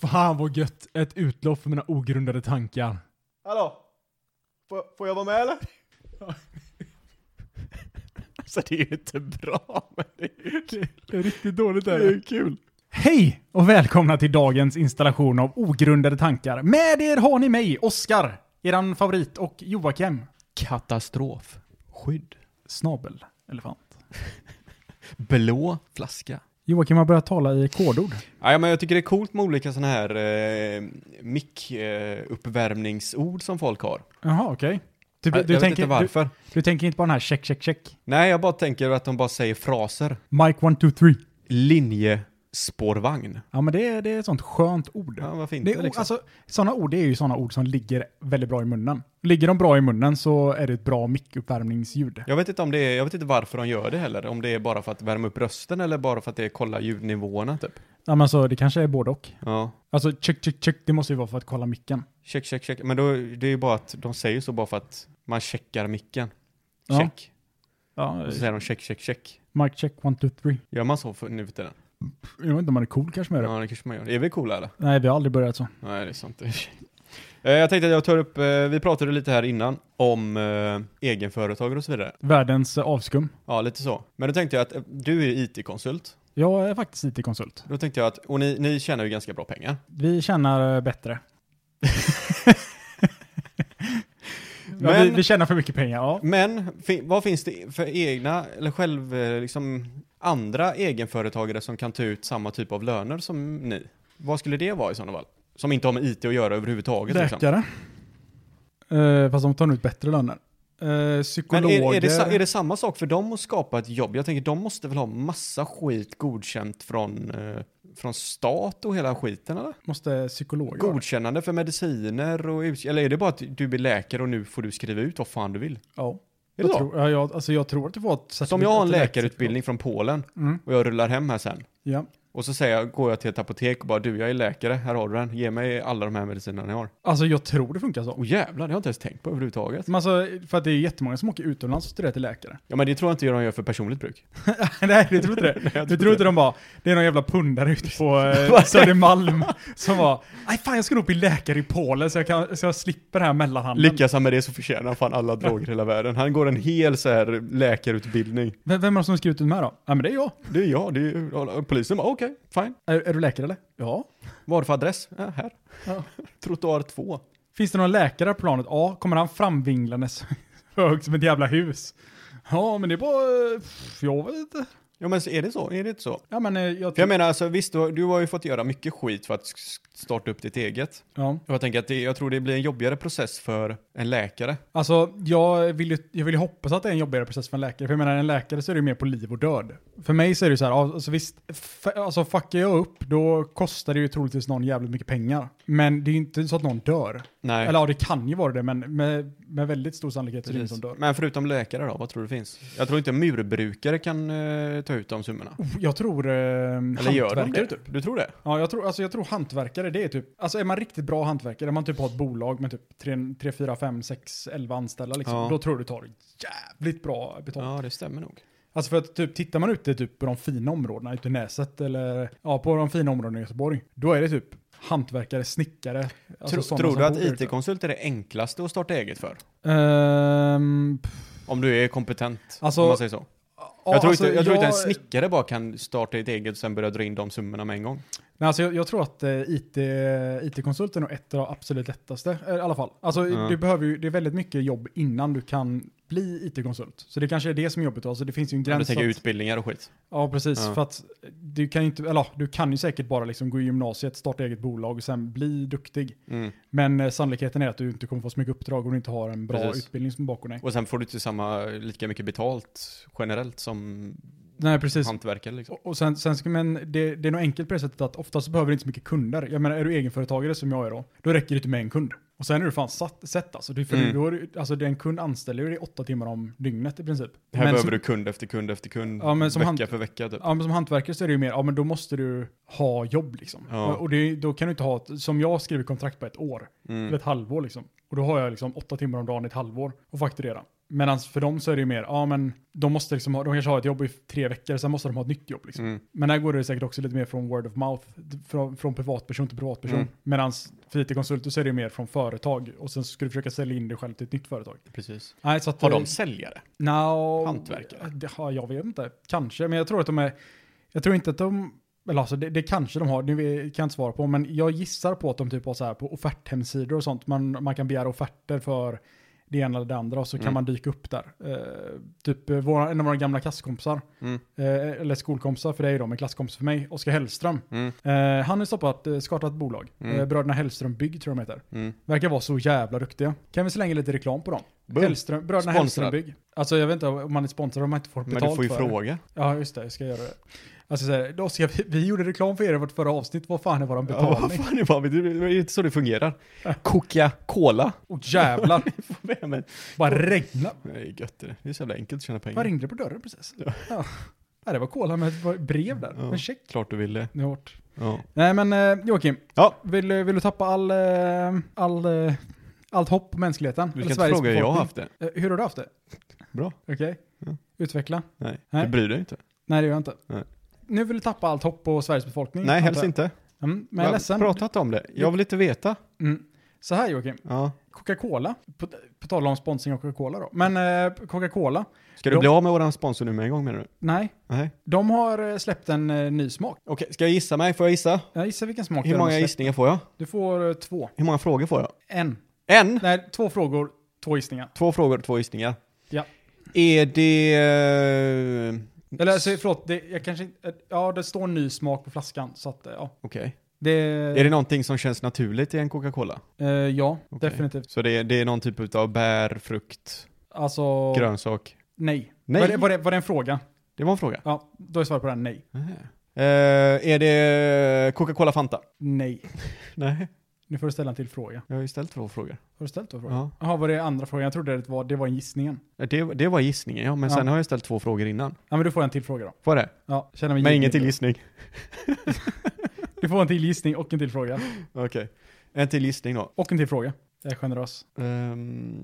Fan vad gött. Ett utlopp för mina ogrundade tankar. Hallå? Får, får jag vara med eller? Alltså det är ju inte bra, men det är ju kul. Det är riktigt dåligt Det är ju kul. Hej och välkomna till dagens installation av ogrundade tankar. Med er har ni mig, Oskar, eran favorit och Joakim. Katastrof. Skydd. Snabel. Elefant. Blå flaska. Joakim har börjat tala i kodord. Ja, men jag tycker det är coolt med olika sådana här eh, mick-uppvärmningsord som folk har. Jaha, okej. Du, jag du, vet tänker, inte du, varför. du tänker inte på den här check, check, check. Nej, jag bara tänker att de bara säger fraser. Mike 1, 2, 3. Linjespårvagn. Ja, men det är, det är ett sånt skönt ord. Ja, varför inte Det är, o- liksom? alltså, sådana ord det är ju sådana ord som ligger väldigt bra i munnen. Ligger de bra i munnen så är det ett bra mickuppvärmningsljud. Jag vet, inte om det är, jag vet inte varför de gör det heller, om det är bara för att värma upp rösten eller bara för att det är kolla ljudnivåerna typ. Ja, men alltså, det kanske är både och. Ja, Alltså check, check, check, det måste ju vara för att kolla micken. check, check, check. Men då, det är ju bara att de säger så bara för att man checkar micken. Ja. Check. Ja, Och så säger de check, check, check. Mike check, one, two, three. Gör man så för nu för tiden? Jag vet inte om man är cool kanske med det. Ja, det kanske man gör. Är vi coola eller? Nej, vi har aldrig börjat så. Nej, det är sant. Eh, Jag tänkte att jag tar upp, eh, vi pratade lite här innan om eh, egenföretagare och så vidare. Världens eh, avskum. Ja, lite så. Men då tänkte jag att eh, du är IT-konsult. Jag är faktiskt IT-konsult. Då tänkte jag att, och ni, ni tjänar ju ganska bra pengar. Vi tjänar eh, bättre. ja, Men- vi, vi tjänar för mycket pengar, ja. Men fi, vad finns det för egna, eller själv, eh, liksom andra egenföretagare som kan ta ut samma typ av löner som ni? Vad skulle det vara i sådana fall? Som inte har med IT att göra överhuvudtaget. Liksom. Läkare. Eh, fast de tar nog ut bättre löner. Eh, Men psykologer. är, är, det, sa- är det samma sak för dem att skapa ett jobb? Jag tänker de måste väl ha massa skit godkänt från, eh, från stat och hela skiten eller? Måste psykologer. Godkännande för mediciner och ut- Eller är det bara att du blir läkare och nu får du skriva ut vad fan du vill? Ja. Är det Jag så? tror, ja, jag, alltså jag tror att du får ett certifikat. Som jag har en ett läkarutbildning från Polen läkarcertifikat. Mm, och jag rullar hem här sen. ja. Och så säger jag, går jag till ett apotek och bara du, jag är läkare, här har du den. Ge mig alla de här medicinerna jag har. Alltså jag tror det funkar så. Och jävlar, det har jag inte ens tänkt på överhuvudtaget. Men alltså, för att det är jättemånga som åker utomlands och studerar till läkare. Ja men det tror jag inte de gör för personligt bruk. Nej, du tror inte det? Du tror inte de bara, det är någon jävla pundare ute på eh, Vad? Södermalm som bara, nej fan jag ska nog bli läkare i Polen så jag, kan, så jag slipper det här mellanhanden. Lyckas han med det så förtjänar han fan alla droger i hela världen. Han går en hel så här läkarutbildning. Vem, vem är det som skrivit ut mig då? Ja men det är jag. Det är jag, det är polisen bara okej, fine. Är, är du läkare eller? Ja. Vad har du för adress? Ja, här. Ja. Trottoar 2. Finns det någon läkare på planet? Ja. Kommer han framvinglandes högt som ett jävla hus? Ja men det är bara, eh, pff, jag vet inte. Ja men är det så? Är det inte så? Ja men eh, jag... För jag menar alltså visst, du har, du har ju fått göra mycket skit för att sk- starta upp ditt eget. ja. Och jag tänker att det, jag tror det blir en jobbigare process för en läkare. Alltså, jag vill, ju, jag vill ju hoppas att det är en jobbigare process för en läkare. För jag menar, en läkare så är det ju mer på liv och död. För mig så är det ju så här, alltså visst, f- alltså fuckar jag upp, då kostar det ju troligtvis någon jävligt mycket pengar. Men det är ju inte så att någon dör. Nej. Eller ja, det kan ju vara det, men med, med väldigt stor sannolikhet så är det ingen som Precis. dör. Men förutom läkare då, vad tror du finns? Jag tror inte murbrukare kan eh, ta ut de summorna. Oh, Jag tror eh, Eller gör de det? hantverkare typ. Typ. Du tror det? Ja, jag tror, alltså jag tror hantverkare, det är typ, alltså är man riktigt bra hantverkare, om man typ har ett bolag med typ 3, 4, 5, 6, 11 anställda liksom, Ja. då tror jag du tar jävligt bra betalt. Ja, det stämmer nog. Alltså för att typ, tittar man ute typ, på de fina områdena, ute i Näset eller ja, på de fina områdena i Göteborg, då är det typ hantverkare, snickare. Alltså sådana Tro, tror som du att bor där ute. IT-konsult är det enklaste att starta eget för? Ehm, pff, Om du är kompetent, Alltså, om man säger så. ja, jag tror, alltså, inte, jag tror inte en snickare bara kan starta ett eget och sen börja dra in de summorna med en gång. Nej, alltså jag, jag tror att eh, IT, IT-konsulten är ett av de absolut lättaste, eh, i alla fall. Alltså Ja. du behöver ju, det är väldigt mycket jobb innan du kan bli IT-konsult. Så det kanske är det som är jobbigt, alltså det finns ju en Om du gräns. tänker att- utbildningar och skit. Ja, precis. Ja. För att du kan ju inte, eller ja, du kan ju säkert bara liksom gå i gymnasiet, starta eget bolag och sen bli duktig. Mm. Men eh, sannolikheten är att du inte kommer få så mycket uppdrag om du inte har en bra Precis. utbildning som bakom dig. Och sen får du inte samma, lika mycket betalt generellt som Nej, precis. hantverkare liksom. Och och sen, sen ska, men det, det är nog enkelt på det sättet att oftast behöver du inte så mycket kunder. Jag menar, är du egenföretagare som jag är då, då räcker det inte med en kund. Och sen är du fan satt, sett alltså. Du, för Mm. du, då är du, alltså den kund anställer ju dig åtta timmar om dygnet i princip. Här men behöver som, du kund efter kund efter kund, Ja, men som vecka hant- för vecka typ. Ja, men som hantverkare så är det ju mer, ja men då måste du ha jobb liksom. Ja. Och det, då kan du inte ha, ett, som jag skriver kontrakt på ett år, Mm. eller ett halvår liksom. Och då har jag liksom åtta timmar om dagen i ett halvår och fakturera. Medan för dem så är det ju mer, ja men de måste liksom ha, de kanske har ett jobb i tre veckor, sen måste de ha ett nytt jobb liksom. Mm. Men här går det säkert också lite mer från word of mouth, från, från privatperson till privatperson. Mm. Medan för IT-konsulter så är det ju mer från företag och sen ska du försöka sälja in dig själv till ett nytt företag. Precis. Nej, så att, Har de säljare? No, Hantverkare? eh, Det, ja, jag vet inte. Kanske, men jag tror att de är... Jag tror inte att de... Eller alltså, det, det kanske de har, det kan jag inte svara på. Men jag gissar på att de typ har så här på offerthemsidor och sånt. Man, man kan begära offerter för det ena eller det andra och så kan Mm. man dyka upp där. Eh, typ eh, våra, en av våra gamla klasskompisar, Mm. eh, eller skolkompisar för dig då, men klasskompis för mig, Oskar Hellström. Mm. Eh, han har stoppat, eh, startat ett bolag. Mm. Eh, Bröderna Hellström Bygg tror jag de heter. Mm. Verkar vara så jävla duktiga. Kan vi slänga lite reklam på dem? Boom. Hellström, bröderna Sponsrad. Hellströmbygg. Alltså jag vet inte om man är sponsrad om man inte får betalt Men du får ju för det. fråga. Ja just det, jag ska göra det. Alltså så här, Oskar, vi, vi gjorde reklam för er i vårt förra avsnitt, vad fan är våran Ja, betalning? vad fan är vad? Det är inte så det fungerar. Ja. Coca-Cola. Åh jävlar, Nej, men- bara regna. det är gött det. där. Det är så jävla enkelt att tjäna pengar. Vad ringde det på dörren precis? Ja. Ja, det var Cola med ett brev där, Ja. en check. Klart du vill det. Det är hårt. Ja. Nej men eh, Joakim, Ja. vill, du- vill du tappa all, eh, all, eh, allt hopp på mänskligheten? Du Eller ska Sveriges inte fråga hur jag har befolkning? haft det. Eh, Hur har du haft det? Bra. Okej, Ja. utveckla. Nej, Nej. Mm, du bryr dig inte. Nej det gör jag inte. Nej. Nu vill du tappa allt hopp på Sveriges befolkning? Nej, helst antar jag. inte. Mm, men Jag jag är har ledsen. pratat om det. Jag vill inte veta. Mm. Så här Joakim, Ja. Coca-Cola, på, på tal om sponsring av Coca-Cola då, men eh, Coca-Cola, Ska du De- bli av med våran sponsor nu med en gång menar du? nej, Nej. de har eh, släppt en eh, ny smak. Okej, ska jag gissa mig? Får jag gissa? Jag gissar vilken smak det är Hur de har många släppt. gissningar får jag? Du får eh, två. Hur många frågor får jag? En. En? Nej, två frågor, två gissningar. Två frågor, två gissningar. Ja. Är det... eh, Eller alltså, förlåt, det, jag kanske inte, eh, ja det står ny smak på flaskan så att eh, ja. Okej. Det, Är det någonting som känns naturligt i en Coca-Cola? eh, ja, Okej. definitivt. Så det är, det är någon typ av bär, frukt, Alltså, grönsak? nej. Nej. Var, det, var, det, var det en fråga? Det var en fråga. Ja, då är svaret på den nej. Eh, är det Coca-Cola Fanta? Nej. Nej, Nu får du ställa en till fråga. jag har ju ställt två frågor. Har du ställt två frågor? Ja. Jaha, var det andra frågan? Jag trodde det var, det var en gissningen. Det, det var gissningen ja, men Ja. sen har jag ställt två frågor innan. Ja, men du får en till fråga då. Var det? Ja, känner mig Men given ingen till då. gissning. Du får en till gissning och en till fråga. Okej. En till gissning då. Och en till fråga. Jag är generös. Ehm,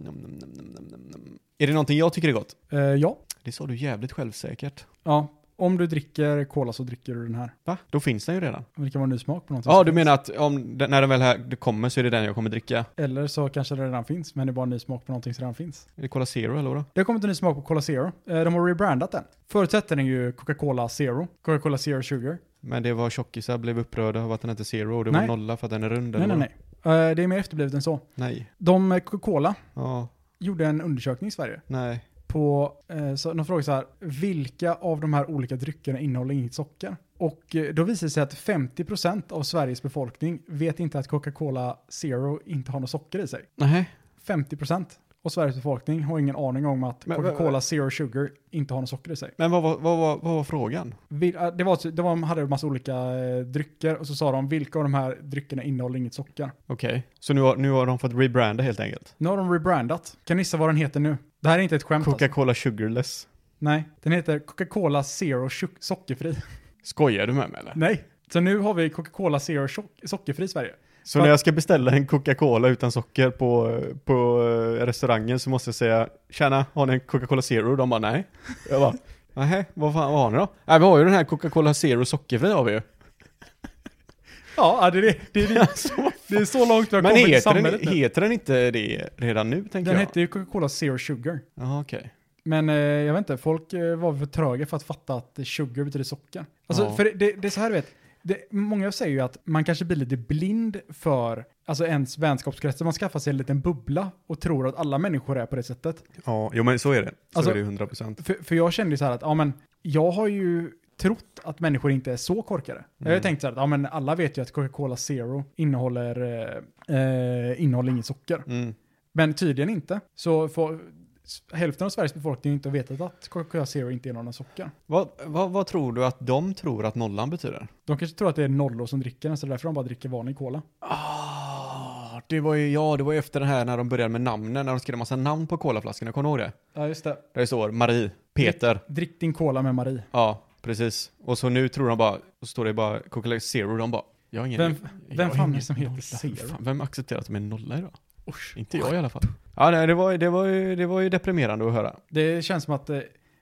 nom, nom, nom, nom, nom, nom. Är det någonting jag tycker är gott? Eh, ja. Det sa du jävligt självsäkert. ja, om du dricker cola så dricker du den här. Va? Då finns den ju redan. Men Det kan vara en ny smak på någonting. Ja, som du finns. menar att om, den- när den väl här det kommer så är det den jag kommer dricka? Eller så kanske det redan finns, men det är bara en ny smak på någonting som redan finns. Är det Cola Zero eller vadå? Det har kommit en ny smak på Cola Zero. Eh, de har rebrandat den. Förut hette den ju Coca-Cola Zero. Coca-Cola Zero Sugar. Men det var tjockisar blev upprörda över att den hette Zero och det Nej. var nolla för att den är rund. Nej, eller nej, vadå? nej. Eh, det är mer efterblivet än så. Nej. De, eh, Coca-Cola, Ja, gjorde en undersökning i Sverige. nej. på, eh, så de frågade så här, vilka av de här olika dryckerna innehåller inget socker? Och eh, då visade det sig att 50% av Sveriges befolkning vet inte att Coca-Cola Zero inte har något socker i sig. Nej. 50% av Sveriges befolkning har ingen aning om att Men- Coca-Cola Zero Sugar inte har något socker i sig. Men vad var, vad, var, vad var frågan? Vil- eh, Det var, det var, de hade en massa olika eh, drycker och så sa de vilka av de här dryckerna innehåller inget socker. Okej, så nu har, nu har de fått rebranda helt enkelt. Nu har de rebrandat. Kan ni gissa vad den heter nu? Det här är inte ett skämt alltså. Coca-Cola Sugarless. Nej, den heter Coca-Cola Zero Suc- Sockerfri. Skojar du med mig eller? Nej. Så nu har vi Coca-Cola Zero sock- sockerfri i Sverige. Så när jag ska beställa en Coca-Cola utan socker på, på eh, restaurangen så måste jag säga Tjena, har ni en Coca-Cola Zero? De bara nej. Jag bara nej, vad fan vad har ni då? Nej, vi har ju den här Coca-Cola Zero sockerfri har vi ju. Ja, det är, det, det, är, det är så långt vi har Men kommit i heter samhället den, nu. heter den inte det redan nu tänker Den jag? hette ju Coca-Cola Zero Sugar. Ja, okej. Men eh, jag vet inte, folk eh, var för tröga för att fatta att sugar betyder socker. Alltså, Ja. för det, det, det är så här du vet. Det, många säger ju att man kanske blir lite blind för alltså ens vänskapskrets. Man skaffar sig en liten bubbla och tror att alla människor är på det sättet. Ja, jo men så är det. Så Alltså- är det ju 100%. För, för jag kände ju så här att, ja men, jag har ju trott att människor inte är så korkade. Jag har ju Mm. tänkt så här att, ja men alla vet ju att Coca-Cola Zero innehåller, eh, eh, innehåller inget socker. Mm. Men tydligen inte. Så får, s- hälften av Sveriges befolkning har inte vetat att Coca-Cola Zero inte innehåller något socker. Vad, vad, vad tror du att de tror att nollan betyder? De kanske tror att det är nollor som dricker den, så det är därför de bara dricker vanlig cola. Ah, det var ju, ja, det var ju efter det här när de började med namnen, när de skrev massa namn på colaflaskorna, kommer du ihåg det? Ja, just det. Där det står Marie, Peter, Drick din cola med Marie. ja, precis. Och så nu tror de bara, och så står det bara Coca-Cola Zero, de bara, jag har ingen Vem- jag vem har fan är ingen det som heter nolla. Zero? Fan, vem accepterar att de är nolla idag? Usch. Inte jag i alla fall. Ja, nej, det, var, ju- det, var ju, det var ju deprimerande att höra. Det känns som att eh,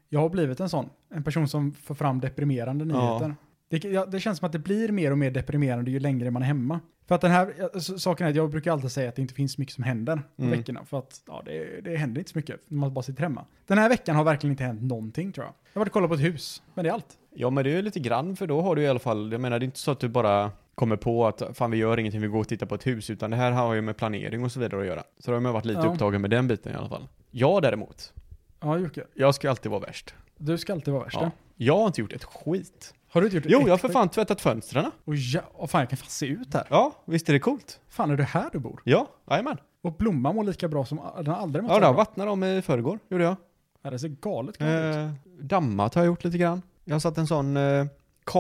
jag har blivit en sån. En person som för fram deprimerande Ja. nyheter. Det, ja, det känns som att det blir mer och mer deprimerande ju längre man är hemma. För att den här ja, s- saken är att jag brukar alltid säga att det inte finns så mycket som händer på Mm. veckorna. För att ja, det, det händer inte så mycket när man bara sitter hemma. Den här veckan har verkligen inte hänt någonting tror jag. Jag har varit och kollat på ett hus, men det är allt. Ja, men det är ju lite grann för då har du i alla fall, jag menar det är inte så att du bara kommer på att fan vi gör ingenting, vi går och tittar på ett hus, utan det här har ju med planering och så vidare att göra. Så då har man varit lite Ja. upptagen med den biten i alla fall. Jag däremot, Ja, Jocke. jag ska alltid vara värst. Du ska alltid vara värst. Ja. Ja. Jag har inte gjort ett skit. Har du inte gjort Jo, jag har ett- för fan tvättat fönstren. Och ja, åh, fan, jag kan fan se ut här. Ja, visst är det coolt? Fan, är det här du bor? Ja, jajamän. Och blomman mår lika bra som den har aldrig mått Ja, så då bra. vattnade de i förrgår, gjorde jag. Ja, det ser galet galet ut. Eh, dammat har jag gjort lite grann. Jag har satt en sån eh,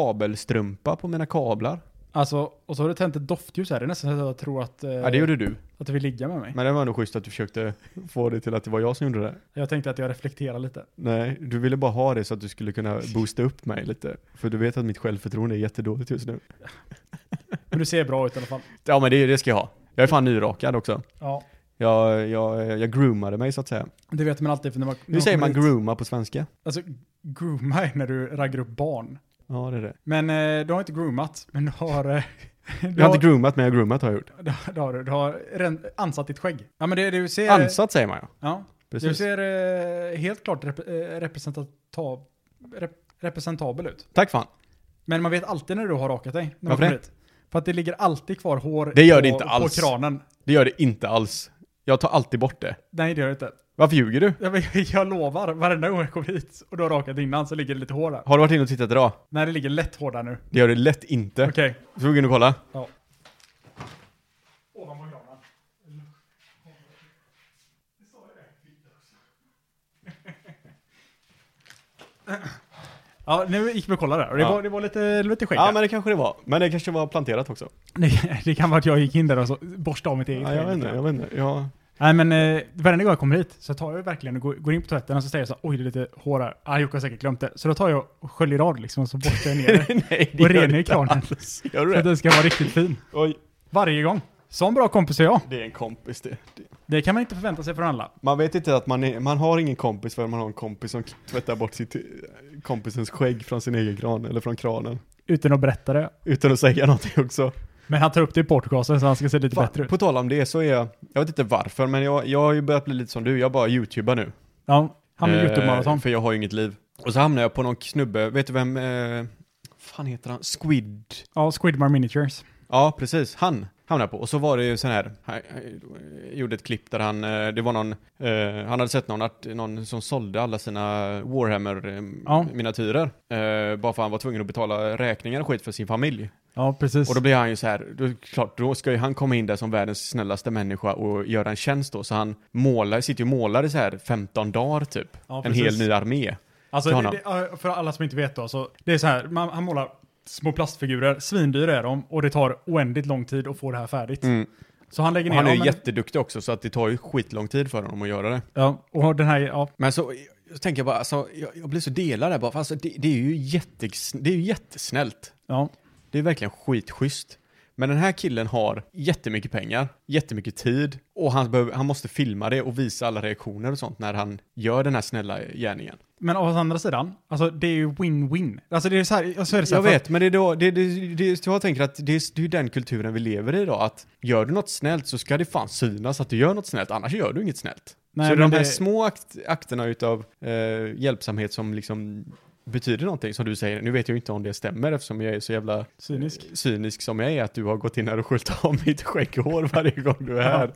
kabelstrumpa på mina kablar. Alltså, och så har du tänt ett doftljus här. Det är nästan så att jag tror att, eh, Ja, det gjorde du. att du vill ligga med mig. Men det var ändå schysst att du försökte få det till att det var jag som gjorde det. Jag tänkte att jag reflekterar lite. Nej, du ville bara ha det så att du skulle kunna boosta upp mig lite. För du vet att mitt självförtroende är jättedåligt just nu. Men du ser bra ut i alla fall. Ja, men det, det ska jag ha. Jag är fan nyrakad också. Ja. Jag, jag, jag groomade mig så att säga. Det vet man alltid. För när man, när Hur säger man kommer dit- grooma på svenska? Alltså, grooma är när du raggar upp barn. Ja, det är det. Men eh, du har inte groomat, men du har... Eh, du, Jag har har inte groomat, men jag har groomat har jag gjort. det har du. Du har ren, ansat ditt skägg. Ja, men det du ser... Ansat säger man ja. Ja. Du Precis. ser eh, helt klart rep, eh, representata- rep, representabel ut. Tack fan. Men man vet alltid när du har rakat dig. När man Varför kommer det? dit. För att det ligger alltid kvar hår Det gör på, det inte alls. på kranen. Det gör det inte alls. Jag tar alltid bort det. Nej, det gör det inte. Varför ljuger du? Jag, jag lovar, varenda gång jag kommer hit och du har rakat innan så ligger det lite hår där. Har du varit inne och tittat idag? Nej, det ligger lätt hår där nu. Det gör det lätt inte. Okej. Så vi gå in och kolla. Ja. Ovanpå kranen. Ja, nu gick vi och kollade där och det, Ja. var, det var lite, lite skägg Ja, där. men det kanske det var. Men det kanske var planterat också. det, det kan vara att jag gick in där och så borstade av mitt eget Ja, skägg jag vet lite inte, grann. jag vet inte. Jag... Nej men eh, varenda gång jag kommer hit så tar jag verkligen och går, går in på toaletten och så säger jag så här, oj det är lite hår här. Ah, Jocke har säkert glömt det. Så då tar jag och sköljer av liksom och så borstar jag ner det. Nej, Och renar i kranen. alls. Gör du så att det? den ska vara riktigt fin. Oj, Varje gång. Sån bra kompis är jag. det är en kompis det. Det- Det kan man inte förvänta sig från alla. Man vet inte att man, är, man har ingen kompis förrän man har en kompis som tvättar bort sitt eh, kompisens skägg från sin egen kran, eller från kranen. Utan att berätta det. Utan att säga någonting också. Men han tar upp det i portgasen så han ska se lite Fan, bättre ut. på tal om det så är jag, jag vet inte varför, men jag, jag har ju börjat bli lite som du, jag bara youtubar nu. Ja, han är Eh, YouTube-maraton. För jag har ju inget liv. Och så hamnar jag på någon snubbe, vet du vem, eh, fan heter han? Squid. Ja, Squidmar Miniatures. Ja, precis. Han hamnade jag på. Och så var det ju sån här, han, han gjorde ett klipp där han, eh, det var någon, eh, han hade sett någon, art, någon som sålde alla sina Ja. Warhammer-miniatyrer. Eh, bara för han var tvungen att betala räkningar och skit för sin familj. Ja, precis. Och då blir han ju så här, då, är det klart, då ska ju han komma in där som världens snällaste människa och göra en tjänst då. Så han målar, sitter ju och målar i så här 15 dagar typ. Ja, en precis. hel ny armé. Alltså, till det, honom. det, ja, för alla som inte vet då, så det är så här, man, han målar små plastfigurer, svindyra är de, och det tar oändligt lång tid att få det här färdigt. Mm. Så han lägger Och ner... han är ja, ju men- jätteduktig också så att det tar ju skitlång tid för honom att göra det. Ja, och den här, ja, Men så, så tänker jag bara, alltså, jag, jag blir så delad där bara, för alltså, det, det, är ju jättes, det är ju jättesnällt. ja. Det är verkligen skitschysst. Men den här killen har jättemycket pengar, jättemycket tid och han, behöver, han måste filma det och visa alla reaktioner och sånt när han gör den här snälla gärningen. Men å andra sidan, alltså det är ju win-win. Alltså det är så här, jag säger det så här Jag för- vet, men det är då, det, det, det, jag tänker att det är, det är ju den kulturen vi lever i idag, att gör du något snällt så ska det fan synas att du gör något snällt, annars gör du inget snällt. Nej, så men de här det- små akt, akterna utav eh, hjälpsamhet som liksom betyder någonting, som du säger, nu vet jag ju inte om det stämmer eftersom jag är så jävla eh, Cynisk. cynisk som jag är, att du har gått in här och sköljt av mitt skägghår varje gång du är här.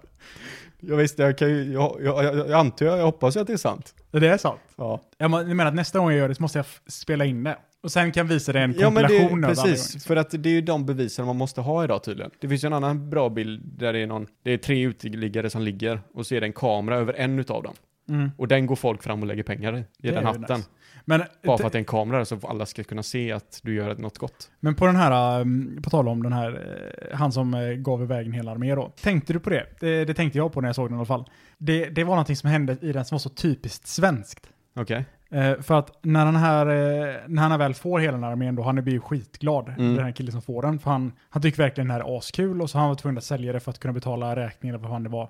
Jag visste, jag kan ju, jag, jag, jag, jag antar, jag hoppas ju att det är sant. Eh, Det är sant. Ja. Jag men- jag menar att nästa gång jag gör det så måste jag f- spela in det. Och sen kan jag visa dig en Ja men det, kompilation av alla precis, gånger. för att det är ju de bevisen man måste ha idag tydligen. Det finns ju en annan bra bild där det är någon, det är tre uteliggare som ligger och så är det en kamera över en utav dem. Mm. Och den går folk fram och lägger pengar i, i Det den är ju hatten. nice. Men, Bara för att det är en kamera där så alla ska kunna se att du gör något gott. men på den här, um, på tal om den här, eh, han som eh, gav iväg en hel armé då. Tänkte du på det? det? Det tänkte jag på när jag såg den i alla fall. Det, det var någonting som hände i den som var så typiskt svenskt. Okej. Eh, för att när han, här, eh, när han här väl får hela den här armén då, han blir ju skitglad, Mm. den här killen som får den. För han, han tycker verkligen det här är askul och så han var tvungen att sälja det för att kunna betala räkningen eller vad fan det var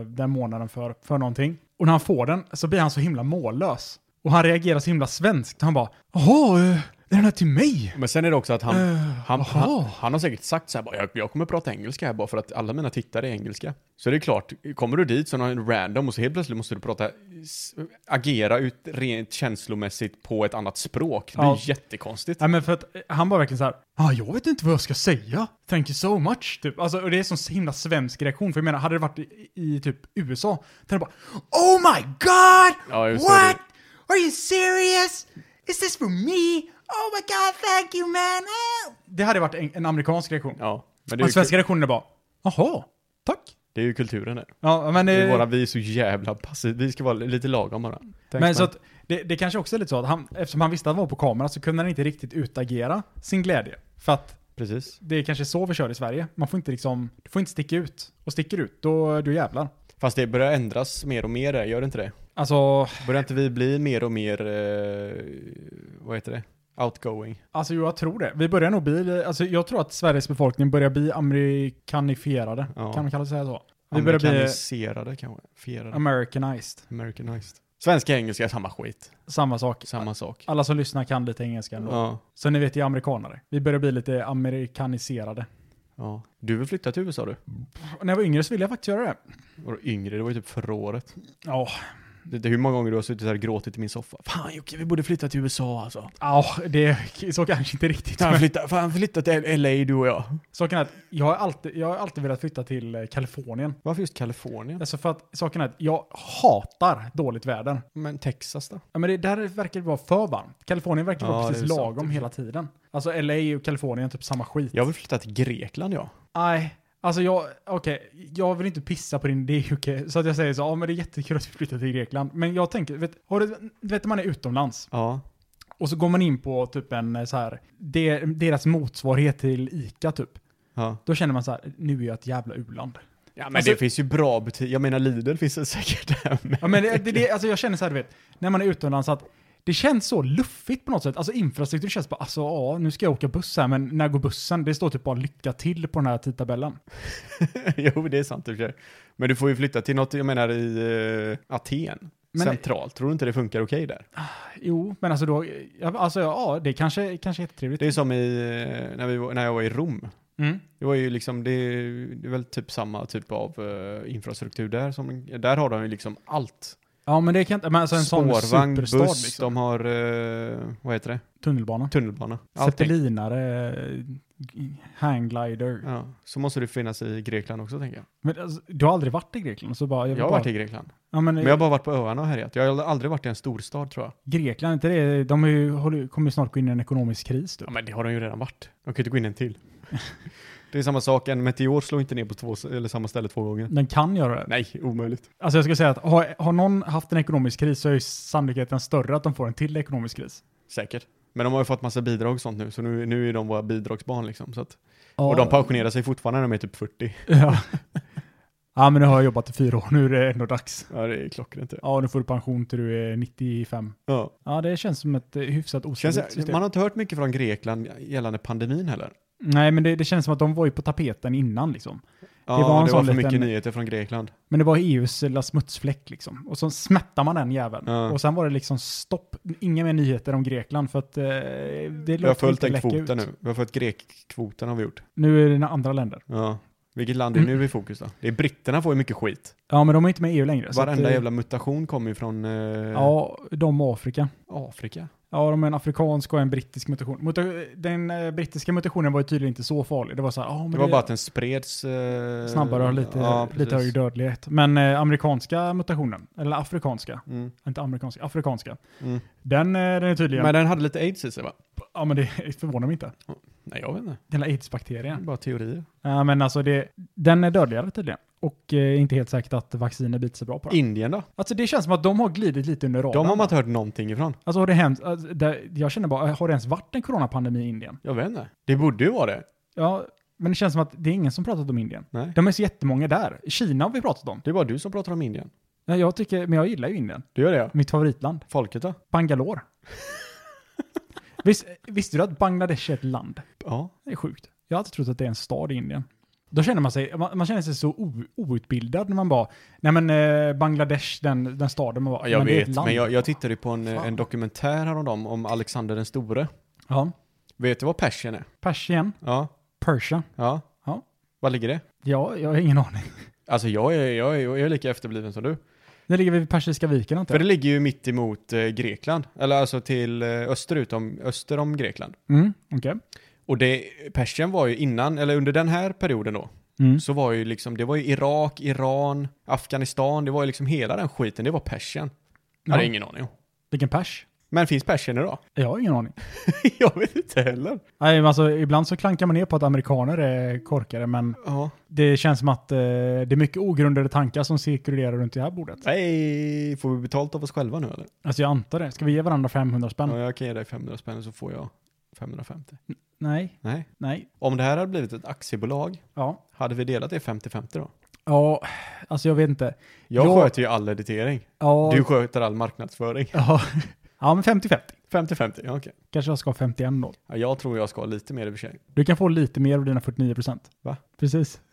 eh, den månaden för, för någonting. Och när han får den så blir han så himla mållös. Och han reagerar så himla svenskt. Han bara ”Jaha, eh, är den här till mig?” Men sen är det också att han, Eh, han, jaha. han, han har säkert sagt så här, bara, jag, jag kommer prata engelska här bara för att alla mina tittare är engelska. Så det är klart, kommer du dit så är någon random och så helt plötsligt måste du prata, s- agera ut rent känslomässigt på ett annat språk. Det är Ja. jättekonstigt. Nej men för att eh, han var verkligen så här, ah, jag vet inte vad jag ska säga, thank you so much, typ. Alltså, och det är en sån himla svensk reaktion, för jag menar, hade det varit i, i typ USA, där bara, oh my god, Ja, just det. what? Are you serious? Is this for me? Oh my god, thank you man! Ah." Det hade varit en, en amerikansk reaktion. Ja, men det är, Den ju, kul- svenska reaktionen är bara, jaha, tack. det är ju kulturen där. Ja, men Det är eh, bara, vi är så jävla passiva, vi ska vara lite lagom bara. Thanks, Men man. så att det, det kanske också är lite så att han, eftersom han visste att han var på kamera så kunde han inte riktigt utagera sin glädje. För att Precis. det är kanske så vi kör i Sverige. Man får inte liksom, du får inte sticka ut. Och sticker ut, då, då jävlar. Fast det börjar ändras mer och mer, där, gör det inte det? Alltså, Börjar inte vi bli mer och mer, eh, vad heter det? Outgoing. alltså jo, jag tror det. Vi börjar nog bli, alltså jag tror att Sveriges befolkning börjar bli amerikanifierade. Ja. Kan man kalla det så? här så? Vi börjar bli Amerikaniserade kanske? Fierade. americanized. Americanized. Svenska och engelska är samma skit. Samma sak. Samma sak. Alla som lyssnar kan lite engelska ändå. Ja. Så ni vet, det är amerikanare. Vi börjar bli lite amerikaniserade. ja. Du vill flytta till USA du? Och när jag var yngre så ville jag faktiskt göra det. Var du yngre? Det var ju typ förra året. Ja, Det, det, hur många gånger du har suttit här och gråtit i min soffa. Fan Jocke, vi borde flytta till USA alltså. oh, det är så kanske inte riktigt. Fan men- flytta, fan, flytta till LA du och jag. Saken är att jag har alltid, jag har alltid velat flytta till eh, Kalifornien. Varför just Kalifornien? Alltså för att saken är att jag hatar dåligt väder. Men Texas då? Ja, men det där verkar det vara för varmt. Kalifornien verkar Ja, vara det precis är sant. lagom hela tiden. Alltså LA och Kalifornien är typ samma skit. Jag vill flytta till Grekland ja. Nej, alltså jag, okej, jag vill inte pissa på din idé Jocke. Så att jag säger så, ja men det är jättekul att vi flyttar till Grekland. Men jag tänker, vet, har du, du vet när man är utomlands Ja. och så går man in på typ en eh, så här, det, deras motsvarighet till ICA typ. Ja. Då känner man så här, nu är jag ett jävla u-land. Ja men Alltså- det finns ju bra butiker, jag menar Lidl finns det säkert där med. Ja, men det, det, det, alltså jag känner så här, du vet, när man är utomlands att det känns så luffigt på något sätt. Alltså infrastruktur känns bara, alltså ja, nu ska jag åka buss här, men när går bussen? Det står typ bara lycka till på den här tidtabellen. jo det är sant i och för sig. Men du får ju flytta till något, jag menar i eh, Aten. Men- Centralt, tror du inte det funkar okej där? Jo, men alltså då, ja, alltså ja, det kanske, kanske är jättetrevligt. Det är som i, eh, när, vi, var- när jag var i Rom. Mm. Det var ju liksom, det är, det är väl typ samma typ av eh, infrastruktur där som, där har de ju liksom allt. Ja, men det kan inte, men alltså en sån Spårvagn, buss, superstad liksom. de har, eh, vad heter det, Tunnelbana. tunnelbana. Allting. Zeppelinare, eh, hangglider. Ja, så måste det finnas i Grekland också tänker jag. Men alltså, du har aldrig varit i Grekland? Så bara, jag vill Jag har bara, varit i Grekland. Ja, men, Men jag har bara varit på öarna och härjat. Jag har aldrig varit i en storstad tror jag. Grekland, inte det, de är ju, håller- kommer ju snart gå in i en ekonomisk kris. Typ. Ja, men det har de ju redan varit. De kan ju inte gå in en till. det är samma sak, en meteor slår inte ner på två, eller samma ställe två gånger. Den kan göra det. Nej, omöjligt. Alltså jag ska säga att har, har någon haft en ekonomisk kris så är ju sannolikheten större att de får en till ekonomisk kris. Säkert. Men de har ju fått massa bidrag och sånt nu, så nu, nu är de våra bidragsbarn liksom. Så att, Ja. Och de pensionerar sig fortfarande när de är typ 40. ja. ja, men nu har jag jobbat i fyra år, nu är det ändå dags. Ja, det är klockrent. Ja. Ja, nu får du pension till du är 95. Ja. Ja, det känns som ett eh, hyfsat Känns, ostabilt system. man har inte hört mycket från Grekland gällande pandemin heller. Nej, men det, det känns som att de var ju på tapeten innan liksom. Ja, var en det var sån för liten- mycket nyheter från Grekland. Men det var EUs lilla smutsfläck liksom. Och så smättar man den jäveln. Ja. Och sen var det liksom stopp, inga mer nyheter om Grekland för att eh, det Vi har låter följt inte den läcka kvoten ut. nu. Vi har följt grekkvoten har vi gjort. Nu är det andra länder. Ja. Vilket land är nu i fokus då? Det är britterna får ju mycket skit. Ja, men de är inte med i EU längre. så att, Varenda eh, jävla mutation kommer ju från eh, Ja, de och Afrika. Afrika. Ja, de är en afrikansk och en brittisk mutation. Muta- den eh, brittiska mutationen var ju tydligen inte så farlig. Det var så här, ah, men Det var bara att den spreds... eh, snabbare och lite, ja, lite högre precis. dödlighet. Men eh, amerikanska mutationen, eller afrikanska, Mm, inte amerikanska, afrikanska, mm. den, eh, den är tydligen... Men den hade lite aids i sig va? ja, men det förvånar mig inte. Nej, jag vet inte. Den här Det är aids-bakterien. bara teorier. Ja, men alltså, det, den är dödligare tydligen. Och eh, inte helt säkert att vacciner biter sig bra på den. Indien då? Alltså det känns som att de har glidit lite under radarn. De har man inte hört någonting ifrån. Alltså har det hänt, alltså, det, jag känner bara, har det ens varit en coronapandemi i Indien? Jag vet inte. Det borde ju vara det. Ja, men det känns som att det är ingen som pratat om Indien. Nej. De är så jättemånga där. Kina har vi pratat om. Det är bara du som pratar om Indien. Nej, jag tycker, men jag gillar ju Indien. Du gör det ja. Mitt favoritland. Folket då? Bangalore. Visst, visste du att Bangladesh är ett land? Ja. Det är sjukt. Jag har alltid trott att det är en stad i Indien. Då känner man sig, man, man känner sig så o, outbildad när man bara, nej men eh, Bangladesh, den, den staden man bara, jag men det är ett vet, land. men jag, jag tittade ju på en, Fan. en dokumentär häromdagen om Alexander den store. Ja. Vet du vad Persien är? Persien, Ja. Persia. Ja. Ja. Var ligger det? Ja, jag har ingen aning. Alltså jag är, jag, är, jag är lika efterbliven som du. Det ligger vid Persiska viken För antar det jag. ligger ju mitt emot eh, Grekland. Eller alltså till eh, österut om, öster om Grekland. Mm, okej. Och det, Persien var ju innan, eller under den här perioden då, Mm. så var ju liksom, det var ju Irak, Iran, Afghanistan, det var ju liksom hela den skiten, det var Persien. Jag hade Ja. ingen aning om. Vilken pers? Men finns Persien idag? Jag har ingen aning. jag vet inte heller. Nej, men alltså ibland så klankar man ner på att amerikaner är korkade, men Ja. det känns som att eh, det är mycket ogrundade tankar som cirkulerar runt det här bordet. Nej, får vi betalt av oss själva nu eller? Alltså jag antar det. Ska vi ge varandra 500 spänn? Ja, jag kan ge dig 500 spänn så får jag 550. Nej, Nej. nej, Om det här hade blivit ett aktiebolag, ja. hade vi delat det 50-50 då? Ja, alltså jag vet inte. Jag Ja. sköter ju all editering. Ja, Du sköter all marknadsföring. ja. ja men 50-50. 50-50, ja okej. Kanske jag ska ha 51 då. Ja, jag tror jag ska ha lite mer i och för sig. Du kan få lite mer av dina 49 procent. Va? Precis.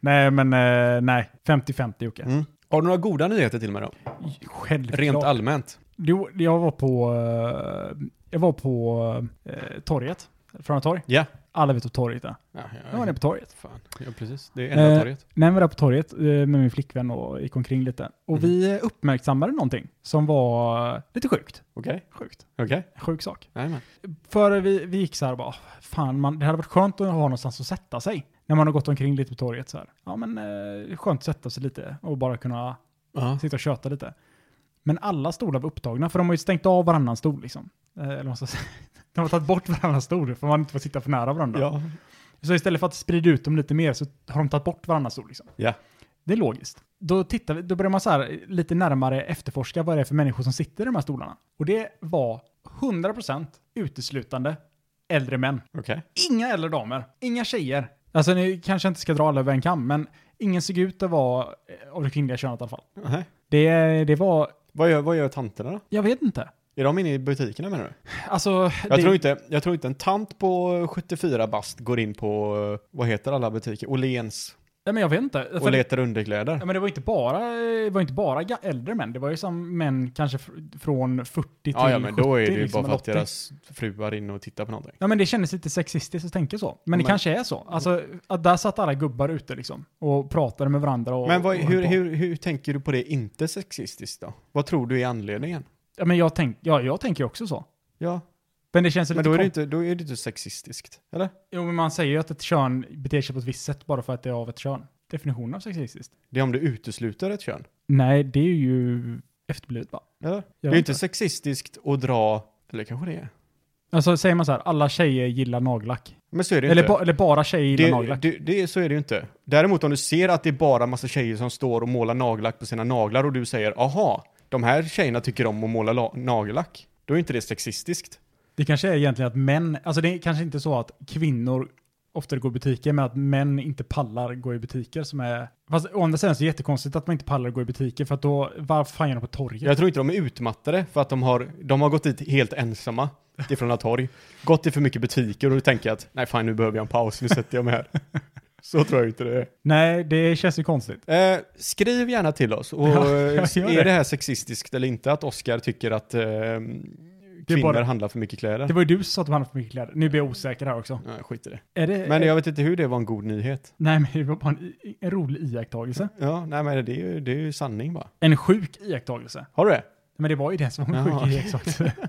nej, men eh, nej. 50-50 Jocke. Mm. Har du några goda nyheter till mig då? Självklart. Mm. Rent allmänt. Jo, jag var på, eh, jag var på eh, torget. Från torg. Ja. Alla vet hur torget är. Ja, Jag var nere på torget. Fan. Ja, precis. Det är enda Eh, torget. Nej, vi var där på torget eh, med min flickvän och gick omkring lite. Och Mhm. vi uppmärksammade någonting som var lite sjukt. Okej. Sjukt. Okej. En Sjuk sak. Jajamän. För vi, vi gick så här och bara, fan, man, det hade varit skönt att ha någonstans att sätta sig. När man har gått omkring lite på torget så här. Ja, men eh, skönt att sätta sig lite och bara kunna Ja. sitta och köta lite. Men alla stolar var upptagna, för de har ju stängt av varannan stol liksom. Eh, Eller vad man ska säga. De har tagit bort varannan stol, för man inte får sitta för nära varandra. Ja. Så istället för att sprida ut dem lite mer så har de tagit bort varannan stol. Liksom. Ja. Det är logiskt. Då, tittar vi, då börjar man så här, lite närmare efterforska vad det är för människor som sitter i de här stolarna. Och det var 100% uteslutande äldre män. Okej. Inga äldre damer, inga tjejer. Alltså ni kanske inte ska dra alla över en kam, men ingen såg ut att vara eh, av det kvinnliga könet i alla fall. Nej. Det, det var, Vad gör, vad gör tanterna då? jag vet inte. Är de inne i butikerna menar du? Alltså, Jag, det, tror inte, jag tror inte en tant på 74 bast går in på, eh, vad heter alla butiker? Åhléns nej, men jag vet inte. För- och letar underkläder. Ja, men det var inte bara, det var inte bara ga- äldre män, det var ju som män kanske fr- från 40 till 70. Ja, ja, men då är det ju liksom, bara för eller att 80. deras fruar är inne och tittar på någonting. Ja men det kändes lite sexistiskt att tänka så. Men, det Men- kanske är så. Alltså, att där satt alla gubbar ute liksom och pratade med varandra och... Men vad, och höll hur, på. hur, hur tänker du på det inte sexistiskt då? Vad tror du är anledningen? Ja men jag, tänk, ja, jag tänker ju också så. Ja, Men det känns ju men lite då är, det kon- inte, då är det inte sexistiskt, eller? Jo men man säger ju att ett kön beter sig på ett visst sätt bara för att det är av ett kön. Definitionen av sexistiskt. Det är om du utesluter ett kön, Nej, det är ju efterblivet va? eller? Det Jag är vet ju inte sexistiskt att dra, eller kanske det är. Alltså säger man så här, alla tjejer gillar nagellack. Men så är det ju Eller, inte. ba, eller bara tjejer gillar det, nagellack. det, det, så är det ju inte. Däremot om du ser att det är bara massa tjejer som står och målar nagellack på sina naglar och du säger aha, de här tjejerna tycker om att måla la- nagellack. Då är inte det sexistiskt. Det kanske är egentligen att män, alltså det är kanske inte så att kvinnor oftare går i butiker, men att män inte pallar gå i butiker som är... Fast å andra sidan så är det jättekonstigt att man inte pallar gå i butiker, för att då, varför fan gör de på torget? Jag tror inte de är utmattade för att de har, de har gått dit helt ensamma ifrån ett torg, gått till för mycket butiker och tänker att nej fan nu behöver jag en paus, nu sätter jag mig här. Så tror jag inte det är. Nej, det känns ju konstigt. Eh, skriv gärna till oss. Och, Ja, eh, jag gör är det. det här sexistiskt eller inte att Oscar tycker att eh, kvinnor bara- handlar för mycket kläder? Det var ju du som sa att de hade för mycket kläder. Nu blir jag osäker här också. Nej, skit i det. Är det... Men är- jag vet inte hur det var en god nyhet. Nej, men det var bara en, i- en rolig iakttagelse. Ja, nej men det är ju, det är ju sanning bara. En sjuk iakttagelse. Har du det? Men det var ju det som var en Jaha. sjuk iakttagelse.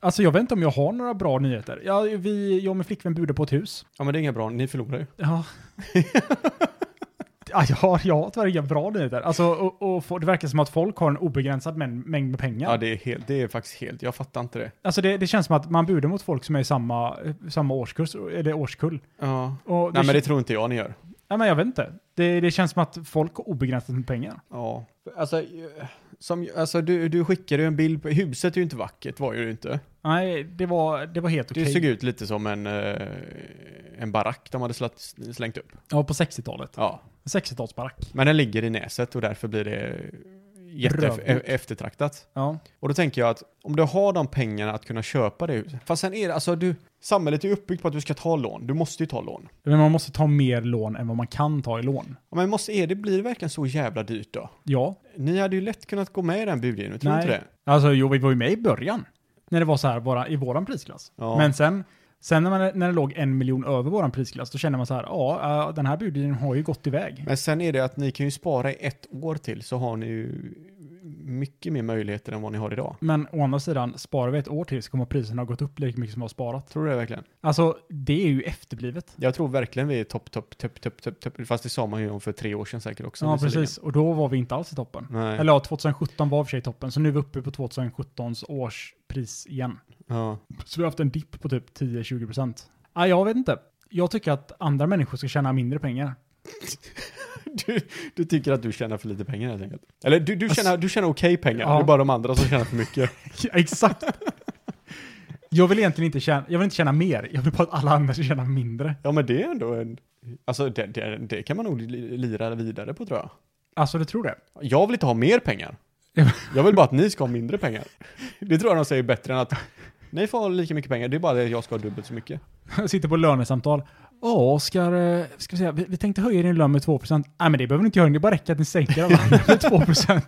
Alltså jag vet inte om jag har några bra nyheter. Ja, vi, jag och min flickvän budade på ett hus. Ja men det är inga bra, ni förlorar ju. Ja. ja, jag har, jag har tyvärr inga bra nyheter. Alltså, och, och få- det verkar som att folk har en obegränsad mäng- mängd med pengar. Ja, det, är helt, det är faktiskt helt, jag fattar inte det. Alltså det, det känns som att man budar mot folk som är i samma, eh, samma årskurs, eller årskull. Ja. Och Nej men det kän- tror inte jag ni gör. Nej, men jag vet inte. Det, det känns som att folk har obegränsat med pengar. Ja. Alltså, eh, som, alltså du, du skickade ju en bild på, huset är ju inte vackert var ju det inte. Nej, det var, det var helt okej. Det såg ut lite som en, eh, en barack de hade slatt, slängt upp. Ja, på 60-talet. Ja. 60-talsbarack. Men den ligger i näset och därför blir det jätte e-, Rövdyrt. eftertraktat. Ja. Och då tänker jag att om du har de pengarna att kunna köpa det huset. Fast sen är det, alltså du, samhället är ju uppbyggt på att du ska ta lån. Du måste ju ta lån. Men man måste ta mer lån än vad man kan ta i lån. Ja, Men måste, är det, blir det verkligen så jävla dyrt då? Ja. Ni hade ju lätt kunnat gå med i den budgivningen, tror du inte det? Alltså jo, vi var ju med i början. När det var så här bara i våran prisklass. Ja. Men sen, sen när, man, när det låg en miljon över våran prisklass, då kände man så här, ja, eh, den här budgivningen har ju gått iväg. Men sen är det att ni kan ju spara i ett år till så har ni ju mycket mer möjligheter än vad ni har idag. Men å andra sidan, sparar vi ett år till så kommer priserna ha gått upp lika mycket som vi har sparat. Tror du det verkligen? Alltså, det är ju efterblivet. Jag tror verkligen vi är topp, topp, topp, topp, topp, topp. Fast det sa man ju om för tre år sedan säkert också. ja, visserligen. precis. Och då var vi inte alls i toppen. Nej. Eller ja, 2017 var i och för sig toppen, så nu är vi uppe på 2017s årspris igen. Ja. Så vi har haft en dipp på typ 10-20 procent. Ah, jag vet inte. Jag tycker att andra människor ska tjäna mindre pengar. Du, du tycker att du tjänar för lite pengar helt enkelt. Eller du, du tjänar, du tjänar okej pengar. Ja. Det är bara de andra som tjänar för mycket. Ja, exakt. Jag vill egentligen inte tjäna, jag vill inte tjäna mer, jag vill bara att alla andra ska tjäna mindre. Ja, men det är ändå en... Alltså det, det, det kan man nog li- lira vidare på tror jag. Alltså du tror det? Jag vill inte ha mer pengar. Ja, men- Jag vill bara att ni ska ha mindre pengar. Det tror jag de säger bättre än att ni får ha lika mycket pengar, det är bara det att jag ska ha dubbelt så mycket. Jag sitter på lönesamtal. Ja, Oskar, eh, ska vi säga, vi, vi tänkte höja din lön med 2%. Nej men det behöver ni inte göra, det bara räcker att ni sänker alla andra med 2%.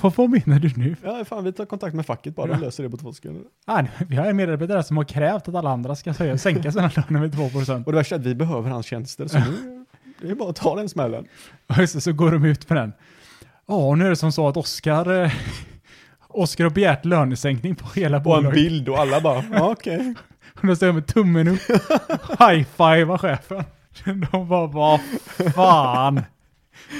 vad, vad menar du nu? Ja, fan vi tar kontakt med facket bara, de löser det på två sekunder. Ah, nej, vi har en medarbetare som har krävt att alla andra ska höja, sänka sina löner med 2%. Och det värsta är att vi behöver hans tjänster, så nu, det är bara att ta den smällen. Och så, så går de ut med den. Ja, och nu är det som så att Oskar eh, Oskar har begärt lönesänkning på hela Och en bolaget. bild och alla bara, ja okej. Och då står jag med tummen upp, high-fivar chefen. De bara, vad fan?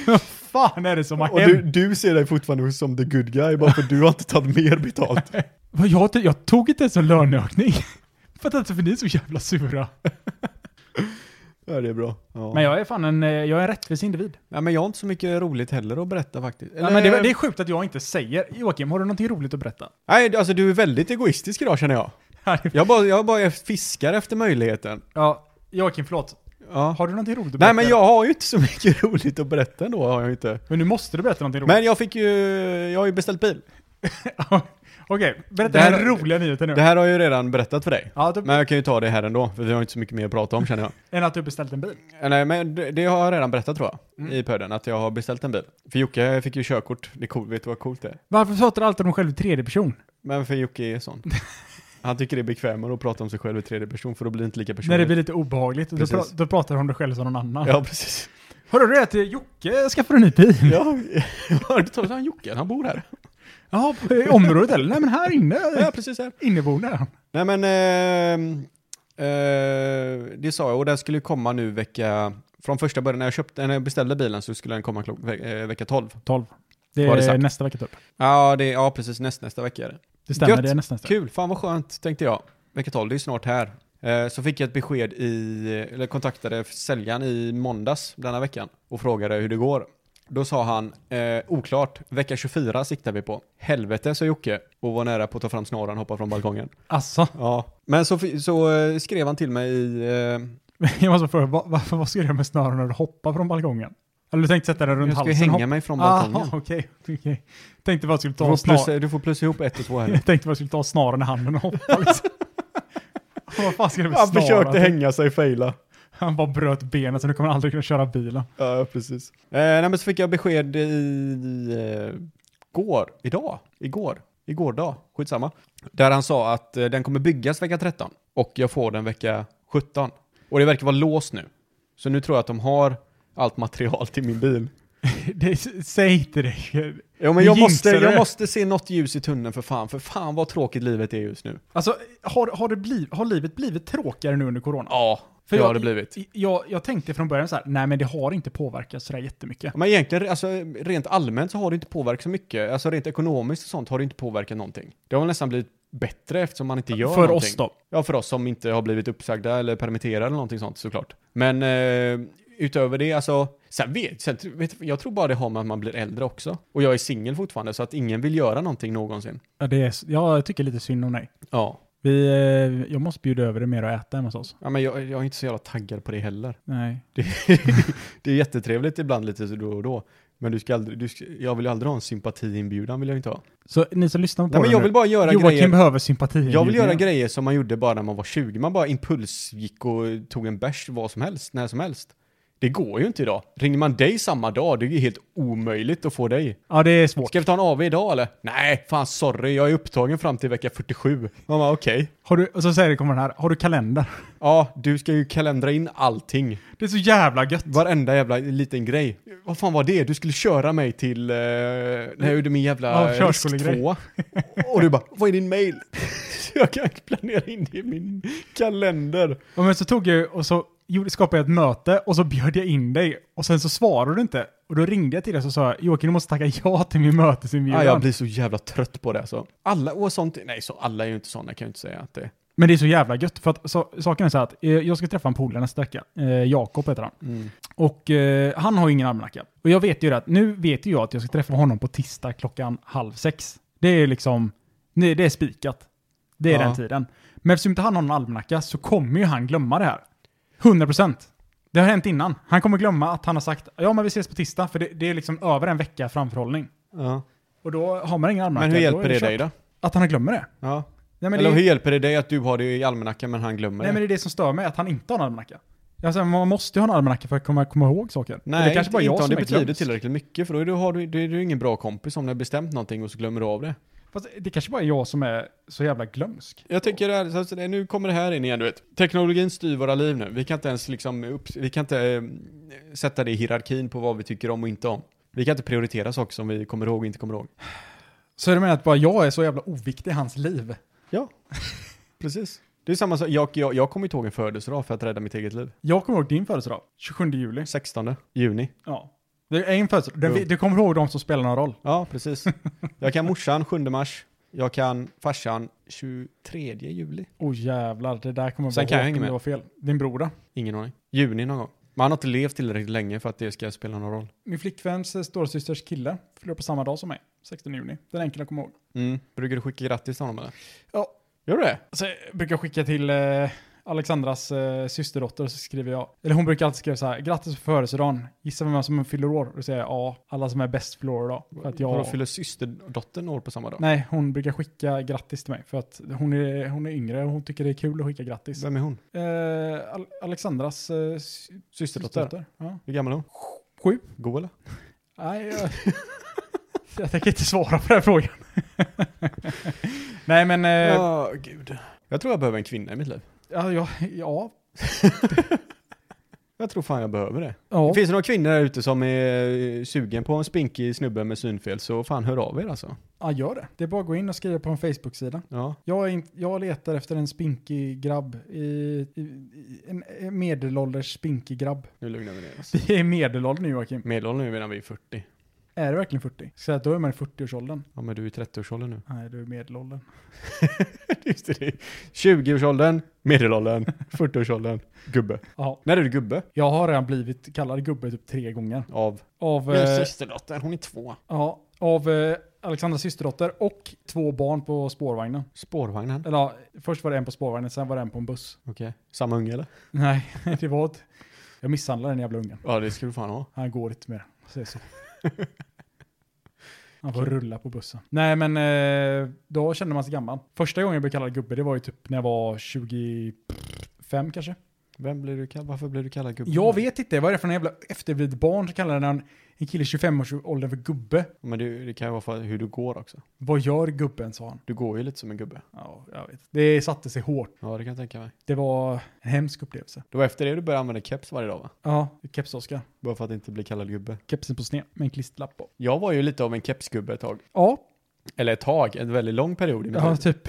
Vad fan är det som har Och hänt? du, du ser dig fortfarande som the good guy, bara för du har inte tagit mer betalt. Vad Jag, jag tog inte ens en löneökning. Fattar inte för ni är så jävla sura. Ja, det är bra. Ja. Men Men, jag, jag är fan en, eh, jag är en rättvis individ. ja, men jag har inte så mycket roligt heller att berätta faktiskt. Ja, men det, är- det är sjukt att jag inte säger. Joakim, har du någonting roligt att berätta? Nej, alltså du är väldigt egoistisk idag känner jag. Jag bara, jag bara fiskar efter möjligheten. Ja, Joakim, förlåt. Ja. Har du någonting roligt att berätta? Nej men jag har ju inte så mycket roligt att berätta ändå, har jag ju inte. Men nu måste du berätta någonting roligt. Men jag fick ju, jag har ju beställt bil. Okej, berätta Det här- den roliga nyheten nu. Det här har jag ju redan berättat för dig. ja, du, Men jag kan ju ta det här ändå, för vi har inte så mycket mer att prata om känner jag. än att du beställt en bil. Nej men det det har jag redan berättat tror jag, i podden, att jag har beställt en bil. För Jocke fick ju körkort, det är coolt, vet du vad coolt det är? Varför pratar du alltid om själv i tredje person? Men för Jocke är sån. Han tycker det är bekvämare att prata om sig själv i tredje person, för då blir det inte lika personligt. När det blir lite obehagligt, då, Precis. pra- då pratar du om dig själv som någon annan. Ja, precis. Hörde du det att eh, Jocke skaffade en ny bil? Ja, jag hörde talas om han Jocke, han bor här. Ja, på- i området eller? Nej men här inne, eh, Ja, precis här. inneboende är han. Nej men, ehm, eh, det sa jag och den skulle ju komma nu vecka, från första början när jag, köpte, när jag beställde bilen så skulle den komma klock, ve, eh, vecka 12. 12. Det Var det är sagt? nästa vecka typ. Ja, det, ja precis näst, nästa vecka är det. Det stämmer, Gött. det är nästa nästa. Kul, fan vad skönt tänkte jag. Vecka 12, det är ju snart här. Eh, Så fick jag ett besked i, eller kontaktade säljaren i måndags denna veckan och frågade hur det går. Då sa han, eh, oklart, vecka 24 siktar vi på. Helvete, sa Jocke och var nära på att ta fram snaran och hoppa från balkongen. Alltså, Ja, men så, fi- så eh, skrev han till mig i... Eh, jag måste fråga, va- varför vad ska du göra med snören när du hoppar från balkongen? Eller du tänkte sätta den runt jag ska ju halsen? hänga hopp- mig från Aha, balkongen. okej. okej. Tänkte vad jag skulle Du ta får, snar- plussa, du får plussa ihop ett och två här. Jag tänkte vad jag skulle ta snaren i handen och hoppa liksom. Vad fan ska det med snaren? hänga sig, fejla. Han bara bröt benet så nu kommer han aldrig kunna köra bilen. Ja, precis. Eh, nej, men så fick jag besked i... Eh, går, idag, igår, igår dag, skitsamma. Där han sa att eh, den kommer byggas vecka 13 och jag får den vecka 17. Och det verkar vara låst nu. Så nu tror jag att de har allt material till min bil. Det, säg inte det. Jo, Nu men jag jinxar måste, du jag det. måste se något ljus i tunneln för fan, för fan vad tråkigt livet är just nu. Alltså, har, har, det bliv, har livet blivit tråkigare nu under corona? Ja, För för det jag- har det blivit. Jag, jag tänkte från början så här, nej men det har inte påverkat sådär jättemycket. Ja, Men egentligen, alltså, rent allmänt så har det inte påverkat så mycket. Alltså rent ekonomiskt och sånt har det inte påverkat någonting. Det har nästan blivit bättre eftersom man inte gör För någonting. oss då? Ja, för oss som inte har blivit uppsagda eller permitterade eller någonting sånt såklart. Men eh, utöver det, alltså, sen vet, sen, vet jag tror bara det har med att man blir äldre också. Och jag är singel fortfarande så att ingen vill göra någonting någonsin. Ja, det är, jag tycker lite synd om dig. Ja. Vi, eh, jag måste bjuda över det mer och äta hemma hos oss. Ja, men jag, jag är inte så jävla taggad på det heller. Nej. Det, det är jättetrevligt ibland lite så då och då. Men du ska aldrig, du ska, jag vill ju aldrig ha en sympatiinbjudan vill jag inte ha. Så ni som lyssnar på Nej men det jag nu, vill bara göra Joakim grejer. behöver sympati. Jag vill göra grejer som man gjorde bara när man var 20. Man bara impuls gick och tog en bärs vad som helst, när som helst. Det går ju inte idag. Ringer man dig samma dag, det är ju helt omöjligt att få dig. Ja, det är svårt. Ska vi ta en AV idag eller? Nej, fan sorry, jag är upptagen fram till vecka 47. Man bara okej. Har du, och så säger det, kommer den här, har du kalender? Ja, du ska ju kalendra in allting. Det är så jävla gött. Varenda jävla liten grej. Vad fan var det? Du skulle köra mig till... eh, när jag gjorde min jävla Ja, ja, körskolegrej. tvåa. Och du bara, vad är din mail? Så jag kan planera in det i min kalender. Ja, men så tog jag och så gjorde- skapade jag ett möte och så bjöd jag in dig och sen så svarade du inte. Och då ringde jag till dig och så sa jag, Joakim du måste tacka ja till min mötesinbjudan. Ah, jag blir så jävla trött på det alltså. Alla, och sånt, nej så alla är ju inte sådana kan jag inte säga att det är. Men det är så jävla gött för att så, saken är så här att eh, jag ska träffa en polare nästa vecka. Eh, Jakob heter han. Mm. Och eh, han har ju ingen almanacka. Och jag vet ju det att nu vet ju jag att jag ska träffa honom på tisdag klockan halv sex. Det är liksom, nej, det är spikat. Det är Ja. den tiden. Men eftersom inte han har någon almanacka så kommer ju han glömma det här. 100 procent. Det har hänt innan. Han kommer glömma att han har sagt ja men vi ses på tisdag för det, det är liksom över en vecka framförhållning. Ja. Och då har man ingen almanacka. Men hur Då hjälper är det dig kört. då? Att han glömmer det. Ja. Nej, men Eller det hur hjälper det dig att du har det i almanackan men han glömmer Nej men det är det som stör mig, att han inte har en almanacka. Jag säger, man måste ju ha en almanacka för att komma, komma ihåg saker. Nej, Eller inte, inte om som det är betyder glömsk. tillräckligt mycket för då är du, har du, då är du ingen bra kompis om du har bestämt någonting och så glömmer du av det. Fast det kanske bara är jag som är så jävla glömsk. Jag tänker det här, så att det- nu kommer det här in igen du vet. Teknologin styr våra liv nu. Vi kan inte ens liksom, upp, vi kan inte eh, sätta det i hierarkin på vad vi tycker om och inte om. Vi kan inte prioritera saker som vi kommer ihåg och inte kommer ihåg. Så du menar att bara jag är så jävla oviktig i hans liv? Ja, precis. Det är samma sak, jag, jag, jag kommer inte ihåg en födelsedag för att rädda mitt eget liv. Jag kommer ihåg din födelsedag, 27 juli. 16 juni. Ja. Det är en födelsedag, Den- Jo. du kommer ihåg de som spelar någon roll. Ja, precis. Jag kan morsan 7 mars. Jag kan farsan 23 juli. Åh jävlar, det där kommer Sen vara kan jag hårt hänga om med. det var fel. Din bror då? Ingen aning. Juni någon gång. Man har inte levt tillräckligt länge för att det ska spela någon roll. Min flickväns eh, storasysters kille fyller på samma dag som mig, 16 juni. Den enkel jag kommer ihåg. Mm. Brukar du skicka grattis till honom eller? Ja. Gör du det? Så jag brukar skicka till eh, Alexandras eh, systerdotter så skriver jag, eller hon brukar alltid skriva så här, grattis på födelsedagen, gissa vem som fyller år? Och då säger jag ja, alla som är bäst fyller år idag. För att Vadå, jag... fyller systerdottern år på samma dag? Nej, hon brukar skicka grattis till mig för att hon är, hon är yngre och hon tycker det är kul att skicka grattis. Vem är hon? Eh, Al- Alexandras eh, sy- Systerdotter? systerdotter. Ja. Hur gammal är hon? Sju. Go eller? Nej, jag, jag tänker inte svara på den här frågan. Nej, men eh, ja. Ja, gud. Jag tror jag behöver en kvinna i mitt liv. Ja, ja, Jag tror fan jag behöver det. ja. Finns det några kvinnor där ute som är eh, sugen på en spinkig snubbe med synfel så fan hör av er alltså. ja, gör det. Det är bara att gå in och skriva på en Facebook-sida. Ja. Jag, är inte, jag letar efter en spinkig grabb. I, i, i, en en medelålders spinkig grabb. Nu lugnar vi ner oss. Vi är i medelåldern nu Joakim. Medelåldern är medan vi är 40. Är det verkligen 40? Så att då är man i 40-årsåldern. Ja men du är i 30-årsåldern nu. Nej, du är medelåldern. Just det. 20-årsåldern, medelåldern, 40-årsåldern, gubbe. Ja. När är du gubbe? Jag har redan blivit kallad gubbe typ tre gånger. Av? Av, eh, systerdotter, hon är två. ja, av eh, Alexandras systerdotter och två barn på spårvagnen. Spårvagnen? Eller ja, först var det en på spårvagnen, sen var det en på en buss. Okej. Samma unge eller? Nej, det var ett... Jag misshandlade den jävla ungen. Ja det ska du fan ha. Han går inte mer. Säg så. Han får rulla på bussen. Nej men eh, då kände man sig gammal. Första gången jag blev kallad gubbe det var ju typ när jag var 25 kanske. Vem blir du kallad? Varför blir du kallad gubbe? Jag vet inte, vad är det för en jävla efterblivet barn som kallar en, en kille i 25-årsåldern för gubbe? Men det, det kan ju vara för hur du går också. Vad gör gubben sa han. Du går ju lite som en gubbe. Ja, jag vet. Det satte sig hårt. Ja det kan jag tänka mig. Det var en hemsk upplevelse. Det var efter det du började använda keps varje dag va? Ja, keps-Oskar. Bara för att inte bli kallad gubbe. Kepsen på sned med en klisterlapp på. Jag var ju lite av en kepsgubbe ett tag. Ja, Eller ett tag, en väldigt lång period i mitt jag har liv. typ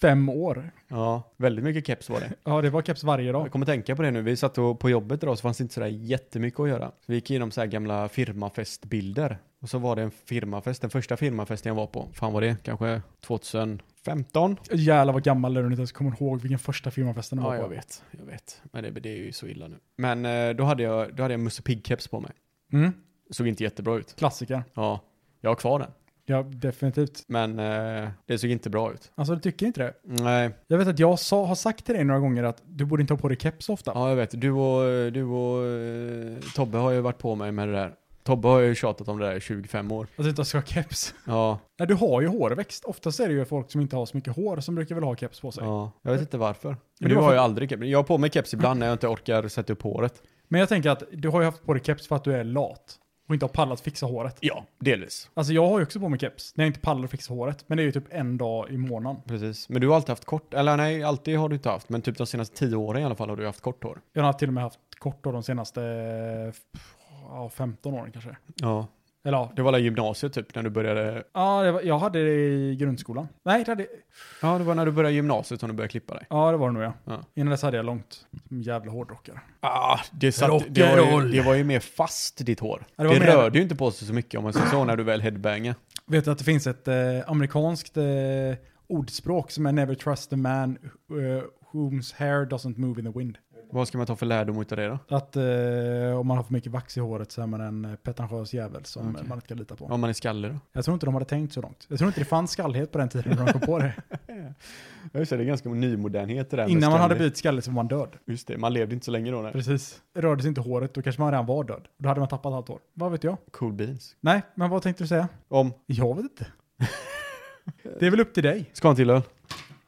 fem år. Ja, väldigt mycket keps var det. Ja, det var keps varje dag. Jag kommer tänka på det nu, vi satt och, på jobbet idag så fanns det inte sådär jättemycket att göra. Så vi gick igenom så här gamla firmafestbilder. Och så var det en firmafest, den första firmafesten jag var på. Fan var det? Kanske 2015? Jävlar vad gammal du är när du inte ens kommer ihåg vilken första firmafesten var Ja, jag vet. Jag vet. Men det, det är ju så illa nu. Men eh, då hade jag, då hade jag Musse Pigg-keps på mig. Mm. Såg inte jättebra ut. Klassiker. Ja, jag har kvar den. Ja, definitivt. Men eh, det såg inte bra ut. Alltså du tycker inte det? Nej, Jag vet att jag sa, har sagt till dig några gånger att du borde inte ha på dig keps så ofta. ja jag vet. Du och, du och eh, Tobbe har ju varit på mig med det där. Tobbe har ju tjatat om det där i 25 år. Att du Alltså, inte ska ha keps. Ja, Nej, du har ju hårväxt. Oftast är det ju folk som inte har så mycket hår som brukar väl ha keps på sig. ja. Jag vet inte varför. det Men du var har för- ju aldrig keps. Jag har på mig keps ibland när jag inte orkar sätta upp håret. Men jag tänker att du har ju haft på dig keps för att du är lat och inte har pallat fixa håret. Ja, delvis. Alltså jag har ju också på mig keps när jag inte pallar fixa håret. Men det är ju typ en dag i månaden. Precis. Men du har alltid haft kort, eller nej, alltid har du inte haft, men typ de senaste 10 åren i alla fall har du haft kort hår. Jag har till och med haft kort då de senaste ja, 15 åren kanske. Ja. Eller ja, Det var alla gymnasiet typ, när du började... ja det var, jag hade det i grundskolan. Nej, det hade, Ja, det var när du började gymnasiet som du började klippa dig. ja det var det nog ja. Ja. Innan dess hade jag långt. Som jävla hårdrockare. Ah, det, satt, det, var ju, Rock'n'roll. det var ju mer fast ditt hår. Ja, det det var mer- rörde ju inte på sig så mycket om man säger så när du väl headbangade. Vet du att det finns ett eh, amerikanskt eh, ordspråk som är never trust a man eh, whose hair doesn't move in the wind. Vad ska man ta för lärdom utav det då? Att eh, om man har för mycket vax i håret så är man en eh, petentiös jävel som Okej. man inte kan lita på. Om man är skalle då? Jag tror inte de hade tänkt så långt. Jag tror inte det fanns skallhet på den tiden när de kom på det. Ja, just det, det är ganska nymodernhet det där med Innan man hade skalle. blivit skalle så var man död. Just det, man levde inte så länge då. Nej. Precis. Rörde sig inte håret, då kanske man redan var död. Då hade man tappat allt hår. Vad vet jag? Cool beans. Nej, men vad tänkte du säga? Om, Jag vet inte. det är väl upp till dig. ska ha en till öl?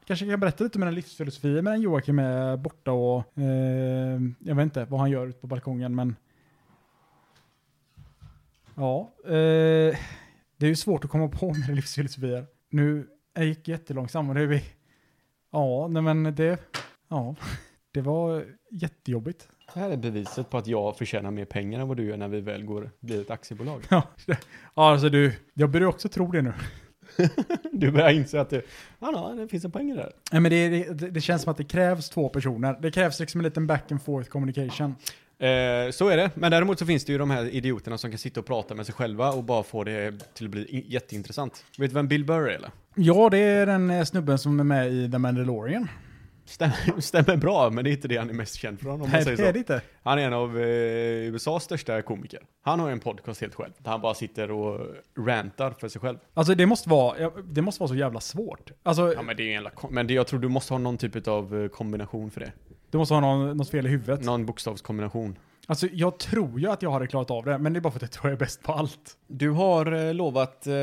Kanske kan jag berätta lite om den livsfilosofi medan Joakim är borta och eh, jag vet inte vad han gör ute på balkongen men Ja, eh, det är ju svårt att komma på mina livsfilosofier. Nu, jag gick jättelångsamt och det är vi Ja, nej men det Ja, det var jättejobbigt. Det här är beviset på att jag förtjänar mer pengar än vad du gör när vi väl går, blir ett aktiebolag. Ja, det- ja, alltså du, jag börjar också tro det nu. Du börjar inse att det, ja, ja, det finns en poäng i det här. Nej men det, det, det känns som att det krävs två personer. Det krävs liksom en liten back and forth communication. Eh, så är det, men däremot så finns det ju de här idioterna som kan sitta och prata med sig själva och bara få det till att bli i- jätteintressant. Vet du vem Bill Burr är eller? Ja, det är den eh, snubben som är med i The Mandalorian. Stämmer, stämmer bra, men det är inte det han är mest känd från om man Nej, säger det är det så. inte. Han är en av eh, USAs största komiker. Han har en podcast helt själv, där han bara sitter och rantar för sig själv. Alltså det måste vara, ja, det måste vara så jävla svårt. Alltså, Ja men det är ju en jävla kom- men det, jag tror du måste ha någon typ av kombination för det. du måste ha någon, något fel i huvudet. Någon bokstavskombination. Alltså jag tror ju att jag hade klarat av det, men det är bara för att jag tror jag är bäst på allt. Du har eh, lovat eh,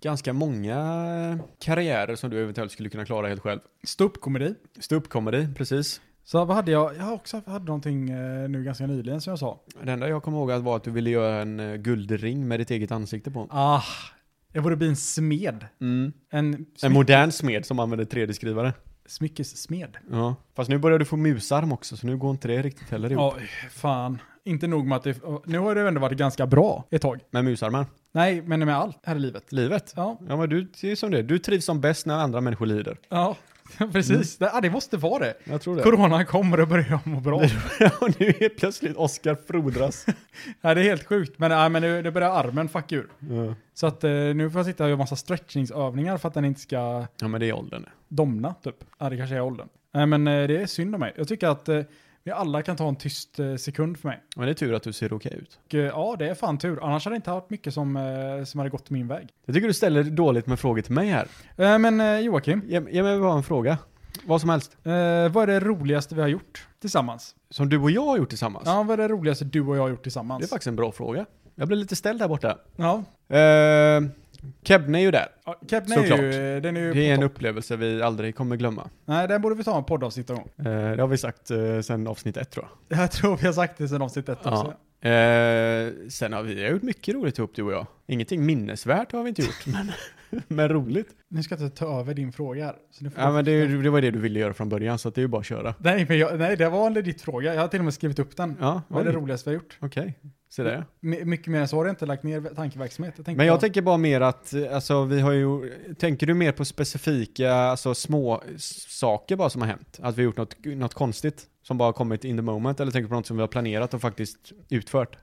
ganska många karriärer som du eventuellt skulle kunna klara helt själv. Ståuppkomedi. Ståuppkomedi, precis. Så vad hade jag? Jag har också hade någonting eh, nu ganska nyligen som jag sa. Det enda jag kommer ihåg att var att du ville göra en eh, guldring med ditt eget ansikte på. Ah, jag borde bli en smed. Mm. En, En smy- modern smed som använder 3D-skrivare. smyckessmed. Ja. Fast nu börjar du få musarm också, så nu går inte det riktigt heller ihop. Ja, fan. Inte nog med att det, nu har det ändå varit ganska bra ett tag. Med musarmen. Nej, men med allt här i livet. Livet. Ja, Ja men du, det är som det. Du trivs som bäst när andra människor lider. ja precis. Det, ah, det måste vara det. Jag tror Corona kommer och börjar jag må bra. Och nu helt plötsligt Oscar frodras. Nej, det är helt sjukt. Men, nej, men nu, nu börjar armen fucka ur. Så att eh, nu får jag sitta och göra massa stretchingsövningar för att den inte ska Ja men det är åldern. domna, typ. Ja, det kanske är åldern. Nej, men eh, det är synd om mig. Jag tycker att eh, vi alla kan ta en tyst eh, sekund för mig. Men det är tur att du ser okej ut. Och, eh, ja, det är fan tur. Annars hade det inte haft mycket som, eh, som hade gått min väg. Jag tycker du ställer dåligt med frågor till mig här. Eh, men eh, Joakim, Ge, ge mig bara en fråga. Vad som helst. eh, vad är det roligaste vi har gjort tillsammans? Som du och jag har gjort tillsammans. Ja, vad är det roligaste du och jag har gjort tillsammans? Alltså- Det är faktiskt en bra fråga. Jag blev lite ställd här borta. Ja. Uh, Kebne är ju där. Ja, Kebne Såklart. är ju, den är ju Det är på en topp. upplevelse vi aldrig kommer glömma. Nej, den borde vi ta en poddavsnitt någon gång. Eh, det har vi sagt eh, sen avsnitt ett tror jag. Jag tror vi har sagt det sedan avsnitt ett också. Eh, sen har vi gjort mycket roligt ihop du och jag. Ingenting minnesvärt har vi inte gjort, men, men roligt. Nu ska jag inte ta över din fråga här. Så nu får Ja, du- men det, är ju- det var det du ville göra från början, så att det är ju bara att köra. nej, men jag, nej, det var en legit fråga. Jag har till och med skrivit upp den. Ja, Vad är det oj. roligaste vi har gjort? Okej, se där. My- mycket mer än så har jag inte lagt ner tankeverksamhet. Jag tänkte Men jag bara- tänker bara mer att, eh, alltså vi har ju, tänker du mer på specifika, alltså små s- saker bara som har hänt? Att vi har gjort något, något konstigt som bara har kommit in the moment, eller tänker du på något som vi har planerat och faktiskt utfört?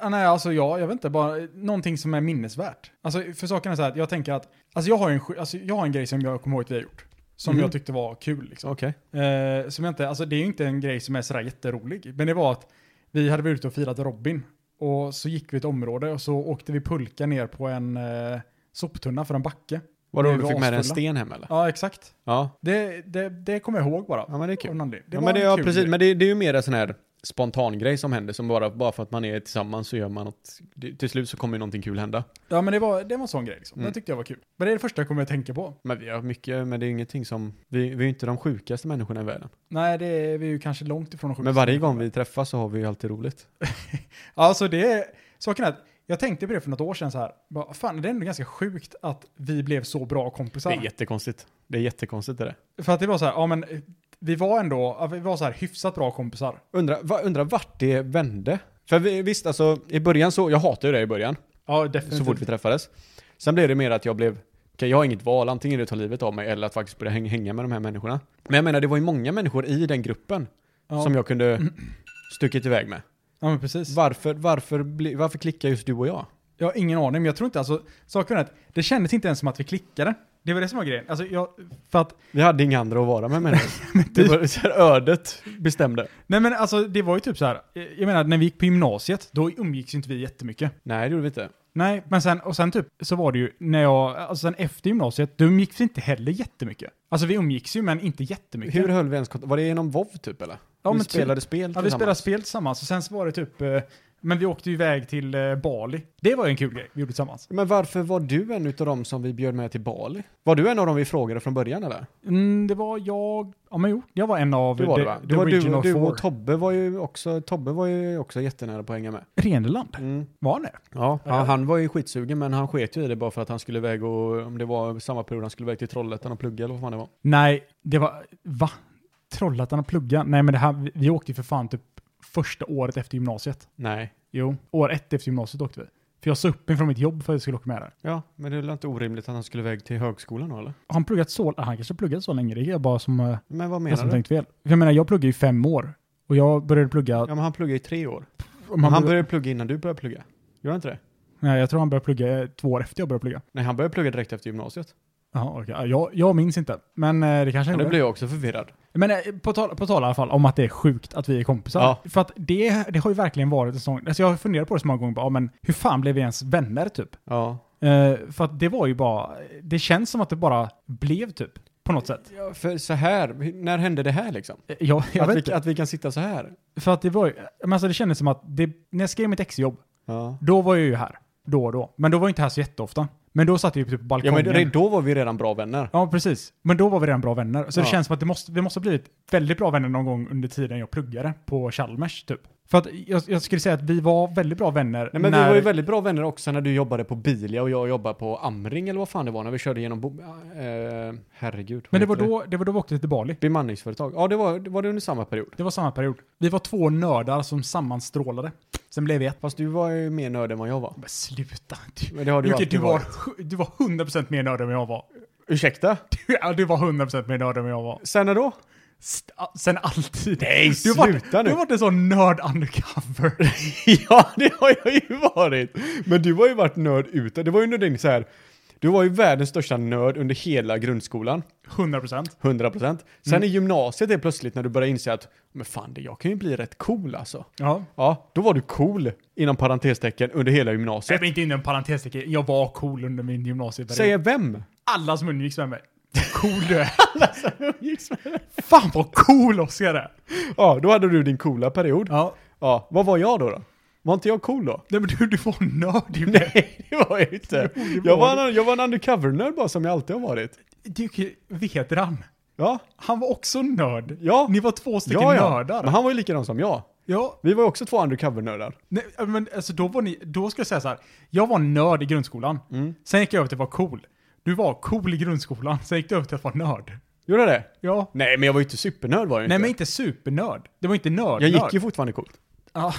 Ah, nej, alltså jag, jag vet inte, bara någonting som är minnesvärt. Alltså för saken är så här, att jag tänker att, alltså jag har en, sk- alltså, jag har en grej som jag kommer ihåg att vi har gjort. Som Mhm. jag tyckte var kul liksom. Okej. Eh, som jag inte, alltså det är ju inte en grej som är sådär jätterolig. Men det var att vi hade varit ute och firat Robin. Och så gick vi ett område och så åkte vi pulka ner på en eh, soptunna för en backe. Vadå, Det du var fick med dig en asfulla. sten hem eller? Ja, exakt. Ja. Det, det, det kommer jag ihåg bara. Ja, men det är kul. Av någon anledning. ja, var men det, en ja, kul precis. grej. Men det, det är ju mer en sån här spontan grej som händer, som bara, bara för att man är tillsammans så gör man att det, till slut så kommer ju någonting kul hända. Ja, men det var, det var en sån grej liksom. Mm. Det tyckte jag var kul. Men det är det första jag kommer att tänka på. Men vi har mycket, men det är ingenting som, vi, vi är ju inte de sjukaste människorna i världen. Nej, det är vi är ju kanske långt ifrån de sjukaste. Men varje gång vi träffas så har vi ju alltid roligt. Alltså det är, saken är att jag tänkte på det för något år sedan så här, bara, fan det är ändå ganska sjukt att vi blev så bra Det kompisar. är jättekonstigt. Det är jättekonstigt det där. För att det var så här, ja men eh, vi var ändå, ja, vi var så här hyfsat bra kompisar. Undrar va, undra vart det vände? För vi, visst, alltså i början så, jag hatade ju det i början, Ja, definitivt. så fort vi träffades. Sen blev det mer att jag blev, okej jag har inget val, antingen är det att ta livet av mig eller att faktiskt börja häng, hänga med de här människorna. Men jag menar, det var ju många människor i den gruppen ja. som jag kunde stuckit iväg med. ja, men precis. Varför, varför, bli, varför klickar just du och jag? Jag har ingen aning, men jag tror inte, alltså saken är att det kändes inte ens som att vi klickade. Det var det som var grejen. Alltså jag, för att, Vi hade inga andra att vara med menar jag. Det var så här, ödet bestämde. nej men alltså det var ju typ så här, eh, jag menar när vi gick på gymnasiet, då umgicks ju inte vi jättemycket. Nej, det gjorde vi inte. Nej, men sen, och sen typ så var det ju när jag, alltså sen efter gymnasiet, då umgicks vi inte heller jättemycket. Alltså vi umgicks ju men inte jättemycket. Hur höll vi ens kontakt? Var det genom WoW typ eller? Ja, vi men typ. spelade spel Ja, vi tillsammans. spelade spel tillsammans och sen så var det typ, eh, men vi åkte ju iväg till eh, Bali. Det var ju en kul grej vi gjorde tillsammans. Men varför var du en utav dem som vi bjöd med till Bali? Var du en av dem vi frågade från början eller? Mm, det var jag, ja men jo, jag var en av Det var the, det va? the Det var du, original du four. och Tobbe var ju också, Tobbe var ju också jättenära på att hänga med. Rendeland, Mm. var han det? Ja, Ja. han, han var ju skitsugen men han sket ju i det bara för att han skulle iväg och om det var samma period han skulle iväg till Trollhättan och plugga eller vad fan det var. Nej, det var, va? Trollhättan och plugga? Nej men det här, vi, vi åkte ju för fan typ första året efter gymnasiet. Nej. Jo, år ett efter gymnasiet åkte vi. För jag sa upp mig från mitt jobb för att jag skulle åka med där. Ja, men det är väl inte orimligt att han skulle iväg till högskolan då eller? Har han pluggat så, han kanske pluggade så länge, det är jag bara som, eh, Men vad jag menar som du? tänkt fel. Jag menar, jag pluggade ju fem år. Och jag började plugga... Ja men han pluggade i tre år. om han började- började plugga innan du började plugga. Gjorde han inte det? Nej, jag tror han började plugga eh, två år efter jag började plugga. Nej, han började plugga direkt efter gymnasiet. Jaha, okej. Ja, Jag, jag minns inte, men eh, det kanske Ja, han nu gjorde. blev jag också förvirrad. Men eh, på tal, på tal i alla fall om att det är sjukt att vi är kompisar. Ja. För att det, det har ju verkligen varit en sån... Alltså jag har funderat på det så många gånger, bara, ja, men hur fan blev vi ens vänner typ? Ja. Eh, för att det var ju bara... Det känns som att det bara blev typ, på något sätt. Ja, för så här, hur- när hände det här liksom? Eh, Jag, jag att, vet vi, inte. att vi kan sitta så här? För att det var ju... Men alltså det kändes som att det, när jag skrev mitt exjobb, Ja. Då var jag ju här, då och då. Men då var jag inte här så jätteofta. Men då satt jag ju typ på Ja, balkongen. men re- då var vi redan bra vänner. Ja, precis. Men då var vi redan bra vänner. Så det Ja. känns som att det måste, vi måste ha blivit väldigt bra vänner någon gång under tiden jag pluggade på Chalmers, typ. För att jag, jag skulle säga att vi var väldigt bra vänner Nej, men när... vi var ju väldigt bra vänner också när du jobbade på Bilia och jag jobbade på Amring eller vad fan det var när vi körde genom... Bo- eh, herregud. men vad det var, heter då, det var då vi åkte till Bali. Bemanningsföretag. Ja, det var, det var det under samma period. Det var samma period. Vi var två nördar som sammanstrålade. Sen blev vi ett. Fast du var ju mer nörd än vad jag var. Men sluta. Du, Men det har du Jocke, du, alltid var, varit. du var 100% mer nörd än vad jag var. Ursäkta? Ja, du var 100% mer nörd än vad jag var. Sen när då? St- Sen alltid. Nej, Du har varit, sluta du nu. har varit en sån nörd undercover. ja, det har jag ju varit. Men du har ju varit nörd ute. Det var ju under din så här... Du var ju världens största nörd under hela grundskolan. 100%. 100%. Sen Mm. i gymnasiet är det plötsligt när du börjar inse att men fan, det, jag kan ju bli rätt cool alltså. Ja. Ja, då var du cool inom parentestecken under hela Jag gymnasiet. vill inte in en parentestecken. Jag var cool under min gymnasieperiod. Säger vem? alla som umgicks med mig. Cool du är. Fan vad cool Oskar är. Ja, då hade du din coola period. Ja. Ja, vad var jag då då? Var inte jag cool då? Nej men du, du var nörd ju. Nej, det var jag inte. det Jag var var en, jag var en undercover-nörd bara som jag alltid har varit. Du, Vedran. Ja, Han var också nörd. Ja. Ni var två stycken ja, ja. nördar. Men han var ju likadan som jag. Ja. Vi var ju också två undercover-nördar. Nej, men alltså då var ni, då ska jag säga så här. Jag var nörd i grundskolan. Mm. Sen gick jag över till att vara cool. Du var cool i grundskolan. Sen gick du över till att vara nörd. Gjorde jag det? Ja. Nej, men jag var ju inte supernörd var jag Nej inte. men inte supernörd. Det var inte nörd. jag gick ju fortfarande coolt. Ja,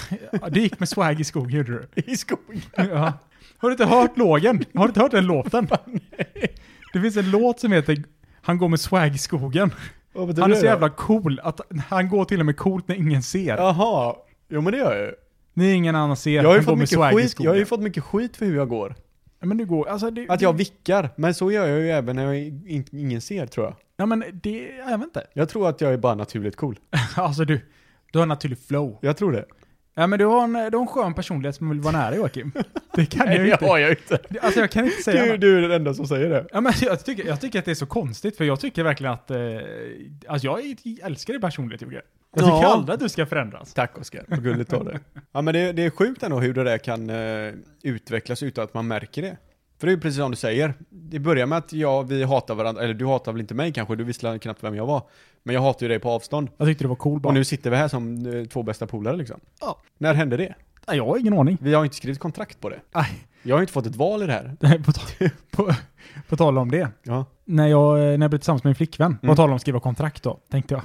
det gick med swag i skog gjorde du. I skogen. Ja. Har du inte hört lågen? Har du inte hört den låten? Det finns en låt som heter Han går med swag i skogen. Vad betyder Han är så det då? jävla cool att han går till och med coolt när ingen ser. Jaha, jo men det gör jag ju. När ingen annan ser, Jag har, han ju går fått med mycket swag i skit, jag skogen. har ju fått mycket skit för hur jag går. Men du går, alltså det, Att jag vickar, men så gör jag ju även när jag in, ingen ser tror jag. Ja men det, jag vet inte. Jag tror att jag är bara naturligt cool. Alltså du, du har en naturlig flow. Jag tror det. Ja, men du har, en, du har en skön personlighet som vill vara nära Joakim. Det kan jag ju inte. har jag inte. Alltså jag kan inte säga annat. du är den enda som säger det. Ja, men jag, tycker, jag tycker att det är så konstigt, för jag tycker verkligen att... Eh, alltså jag är- älskar din personlighet, Jocke. Jag tycker Ja. aldrig att du ska förändras. Tack Oskar, vad gulligt av dig. Ja men det, det är sjukt ändå hur det där kan eh, utvecklas utan att man märker det. För det är ju precis som du säger. Det börjar med att jag, vi hatar varandra, eller du hatar väl inte mig kanske, du visste knappt vem jag var. Men jag hatar ju dig på avstånd. Jag tyckte det var cool bara. Och nu sitter vi här som eh, två bästa polare liksom. Ja. När hände det? Ja, jag har ingen aning. Vi har ju inte skrivit kontrakt på det. Nej. Jag har ju inte fått ett val i det här. På, tal- på, på tal om det. Ja. När jag, eh, när jag blev tillsammans med min flickvän, på Mm. tal om att skriva kontrakt då, tänkte jag.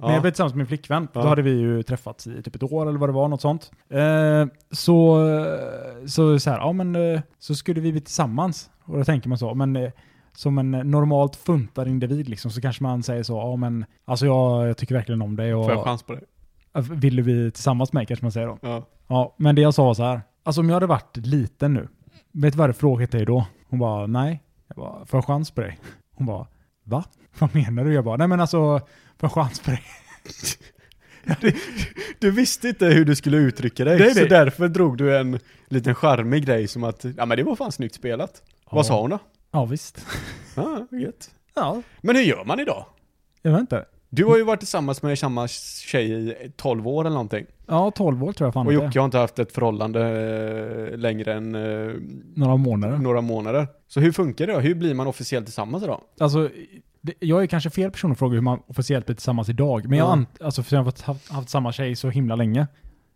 När jag Ja. blev tillsammans med min flickvän, Ja. då hade vi ju träffats i typ ett år eller vad det var, något sånt. Eh, så, eh, så så här, ja men eh, så skulle vi bli tillsammans. Och då tänker man så, men eh, som en normalt funtad individ liksom, så kanske man säger så, ja men alltså jag, jag tycker verkligen om dig Får jag och chans på det? vill du bli tillsammans med mig kanske man säger då. Ja. Ja, men det jag sa var så här, alltså om jag hade varit liten nu, vet du vad jag hade frågat dig då? Hon bara, nej. Jag bara, får jag chans på dig? Hon bara, va? Vad menar du? Jag bara, nej men alltså, får jag chans på dig? Du visste inte hur du skulle uttrycka dig, Nej, så nej. därför drog du en liten charmig grej som att, ja men det var fan snyggt spelat. Vad sa hon då? Ja, visst. Ja, gött. Ja, Men hur gör man idag? jag vet inte. Du har ju varit tillsammans med samma tjej i 12 år eller någonting. Ja, 12 år tror jag fan Och att det är. Jocke har inte haft ett förhållande eh, längre än eh, Några månader. några månader. Så hur funkar det då? Hur blir man officiellt tillsammans idag? Alltså, det, jag är kanske fel person att fråga hur man officiellt blir tillsammans idag. Men jag Ja. an, alltså, för jag har fått- haft, haft samma tjej så himla länge.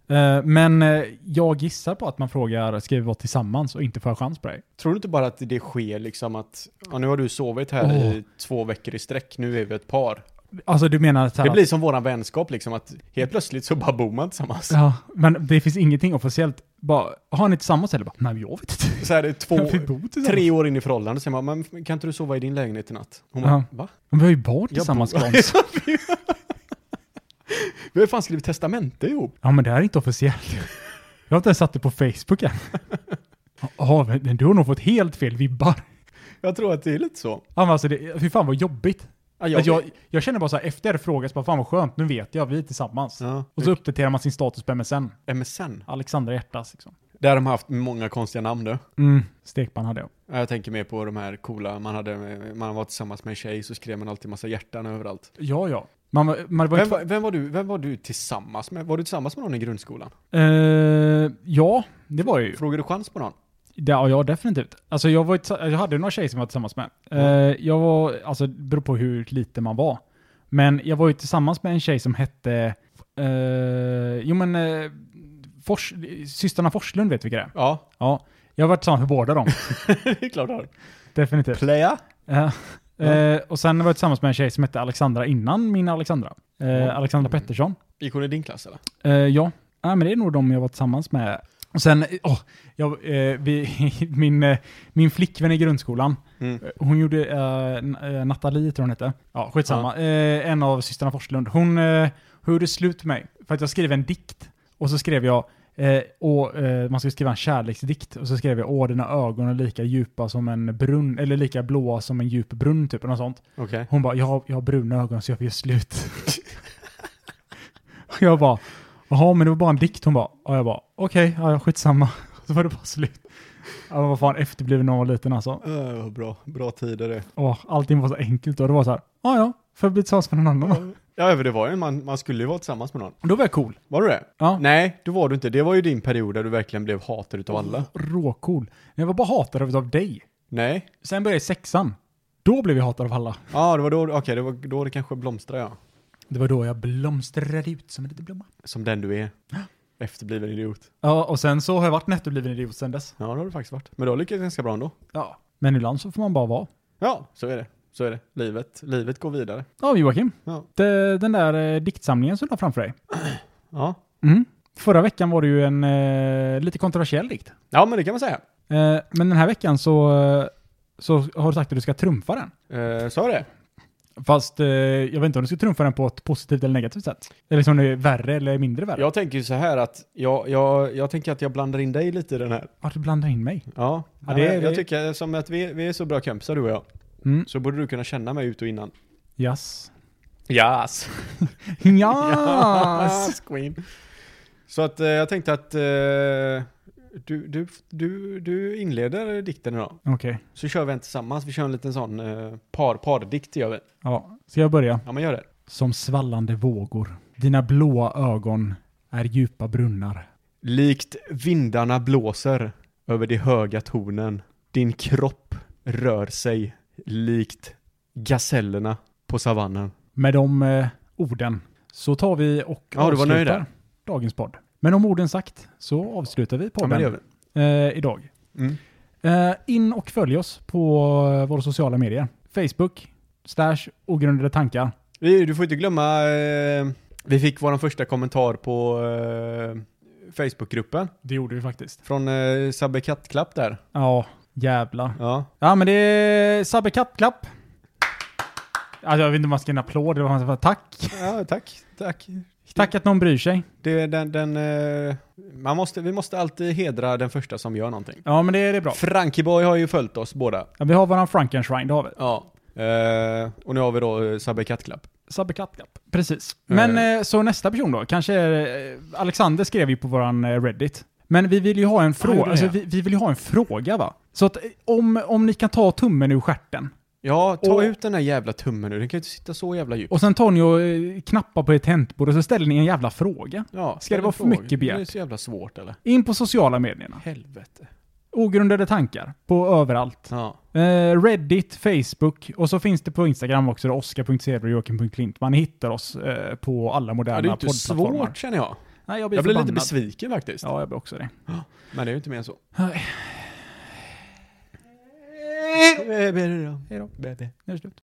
Eh, men eh, jag gissar på att man frågar, ska vi vara tillsammans och inte får jag chans på dig? Tror du inte bara att det sker liksom att, ja nu har du sovit här Åh. i två veckor i sträck, nu är vi ett par. Alltså du menar så här Det att- blir som våran vänskap liksom, att helt plötsligt så bara bor man tillsammans. Ja, men det finns ingenting officiellt. Bara, har ni tillsammans eller? Bara, nej, jag vet inte. Så här, det är två, Vi bor tillsammans. tre år in i förhållandet, säger man, men kan inte du sova i din lägenhet i natt? Hon Ja. bara, va? Men vi har ju barn bor- tillsammans, Hans. Vi har ju fan skrivit testamente ihop. Ja, men det här är inte officiellt. Jag har inte ens satt det på Facebook än. Ja, men- men du har nog fått helt fel vibbar. Jag tror att det är lite så. Ja, men alltså, det, fy fan vad jobbigt. Ja, Jag, jag, jag känner bara så här, efter frågan, så bara fan vad skönt, nu vet jag, vi är tillsammans. Ja. Och så uppdaterar man sin status på MSN. MSN. Alexandra Hjärtas liksom. Där de har haft många konstiga namn då. Mm, stekpanna hade jag. Ja, Jag tänker mer på de här coola, man, hade, man var tillsammans med en tjej så skrev man alltid massa hjärtan överallt. Ja, ja. Man, var- man var ju Vem, var- vem, var du, vem var du tillsammans med? Var du tillsammans med någon i grundskolan? Eh, ja, det var jag ju. Frågade du chans på någon? Det, ja, ja, definitivt. Alltså jag, var, ju tillsa- jag hade några tjejer som jag var tillsammans med. Eh, jag var, alltså det beror på hur liten man var. Men jag var ju tillsammans med en tjej som hette, eh, jo men, eh, Fors, systrarna Forslund vet vilka det är. Ja, Ja, jag har varit tillsammans med båda dem, det är klart du har. definitivt. Playa? Ja. Ja. Eh, och sen var jag tillsammans med en tjej som hette Alexandra innan min Alexandra. Eh, Ja. Mm. Alexandra Pettersson. Gick hon i din klass eller? Eh, ja, Nej, men det är nog de jag var tillsammans med. Och sen, åh, jag, eh, vi, min, eh, min flickvän i grundskolan, Mm. eh, hon gjorde, eh, N- eh, Nathalie tror hon hette. Ja, skitsamma. Eh, en av systrarna Forslund. Hon, eh, hon gjorde slut med mig för att jag skrev en dikt. Och så skrev jag, eh, och, eh, man skulle skriva en kärleksdikt. Och så skrev jag, åh dina ögon är lika djupa som en brunn, eller lika blåa som en djup brunn typ, eller något sånt. Okej. Hon bara, jag, har- jag har bruna ögon så jag vill göra slut. Och jag bara, jaha men det var bara en dikt. Hon bara, och jag bara, okej, ja, ja, skitsamma. Så var det bara slut. Ja, men vad fan, efterbliven när man var liten alltså. Eh, bra, bra tider det. Åh, allting var så enkelt och det var så här, ja ja, får jag bli tillsammans med någon annan då? Ja, men det var ju, man, man skulle ju vara tillsammans med någon. Då var jag cool. Var du det? Ja. Nej, det var du inte. Det var ju din period där du verkligen blev hatad utav Oh. alla. Råcool. Jag var bara hatad av dig. Nej. Sen började jag i sexan. Då blev jag hatad av alla. Ja, det var då, okej, det var då det kanske blomstrade ja. Det var då jag blomstrade ut som en liten blomma. Som den du är. Efterbliven idiot. Ja, och sen så har jag varit nettobliven idiot sen dess. Ja, det har du faktiskt varit. Men du har lyckats ganska bra ändå. Ja. Men ibland så får man bara vara. Ja, så är det. Så är det. Livet, livet går vidare. Ja, Joakim. Ja. Det- Den där eh, diktsamlingen som du har framför dig. Mm. Ja. Förra veckan var det ju en eh, lite kontroversiell dikt. ja, men det kan man säga. Eh, men den här veckan så, eh, så har du sagt att du ska trumfa den. Eh, så är det. Fast eh, jag vet inte om du ska trumfa den på ett positivt eller negativt sätt. Eller som det är värre eller mindre värre. Jag tänker ju så här att jag, jag, jag tänker att jag blandar in dig lite i den här. Ja, du blandar in mig. Ja, Ja, det är jag, jag vi. tycker som att vi, vi är så bra kompisar du och jag. Mm. Så borde du kunna känna mig ut och innan. Yes. Yes. Yes! Ah. Queen. Så att eh, jag tänkte att eh, du, du, du, du inleder dikten idag. Okej. Så kör vi en tillsammans. Vi kör en liten sån eh, par, pardikt gör vi. Ja, ska jag börja? Ja men gör det. Som svallande vågor. Dina blåa ögon är djupa brunnar. Likt vindarna blåser över de höga tornen. Din kropp rör sig likt gasellerna på savannen. Med de eh, orden så tar vi och Ja, du var nöjd där. dagens podd. Men om orden sagt så avslutar vi Ja men podden det gör vi. eh, idag. Mm. Eh, in och följ oss på eh, våra sociala medier. Facebook, Stash, Ogrundade Tankar. Vi- Du får inte glömma, eh, vi fick vår första kommentar på eh, Facebookgruppen Det gjorde vi faktiskt. från eh, Sabbe Kattklapp där. Ja, jävlar. Ja. Ja, men det är Sabbe Kattklapp. Alltså, jag vet inte om man ska ge en applåd eller vad man ska säga. Tack. ja, tack, tack. Tack att någon bryr sig. Det, är den, den, eh, man måste, vi måste alltid hedra den första som gör någonting. Ja, men det, det är bra. Frankieboy har ju följt oss båda. Ja, vi har våran Frankenstein, det har vi. Ja. Eh, och nu har vi då eh, Sabbe Kattklapp. Sabbe Kattklapp. Precis. Men Eh. eh, så nästa person då, kanske är, eh, Alexander skrev ju på våran eh, Reddit. Men vi vill ju ha en gjorde fråga, det, alltså, ja. vi, vi vill ju ha en fråga va? Så att eh, om, om ni kan ta tummen ur stjärten Ja, ta Och- ut den där jävla tummen nu. Den kan ju inte sitta så jävla djupt. och sen tar ni och eh, knappar på ett tangentbord och så ställer ni en jävla fråga. Ja, Ska det vara för mycket begärt? Det är så jävla svårt eller? In på sociala medierna. Helvete. Ogrundade tankar. På överallt. Ja. Eh, Reddit, Facebook och så finns det på Instagram också, då, oskar.sedberg och joakim.klint. Man hittar oss eh, på alla Ja, moderna det är ju inte poddplattformar. svårt känner jag. Nej, jag blir, Jag blev lite förbannad. besviken faktiskt. Ja, jag blir också det. Men det är ju inte mer än så. Nej. Hej då. Hej då. Nu är det slut.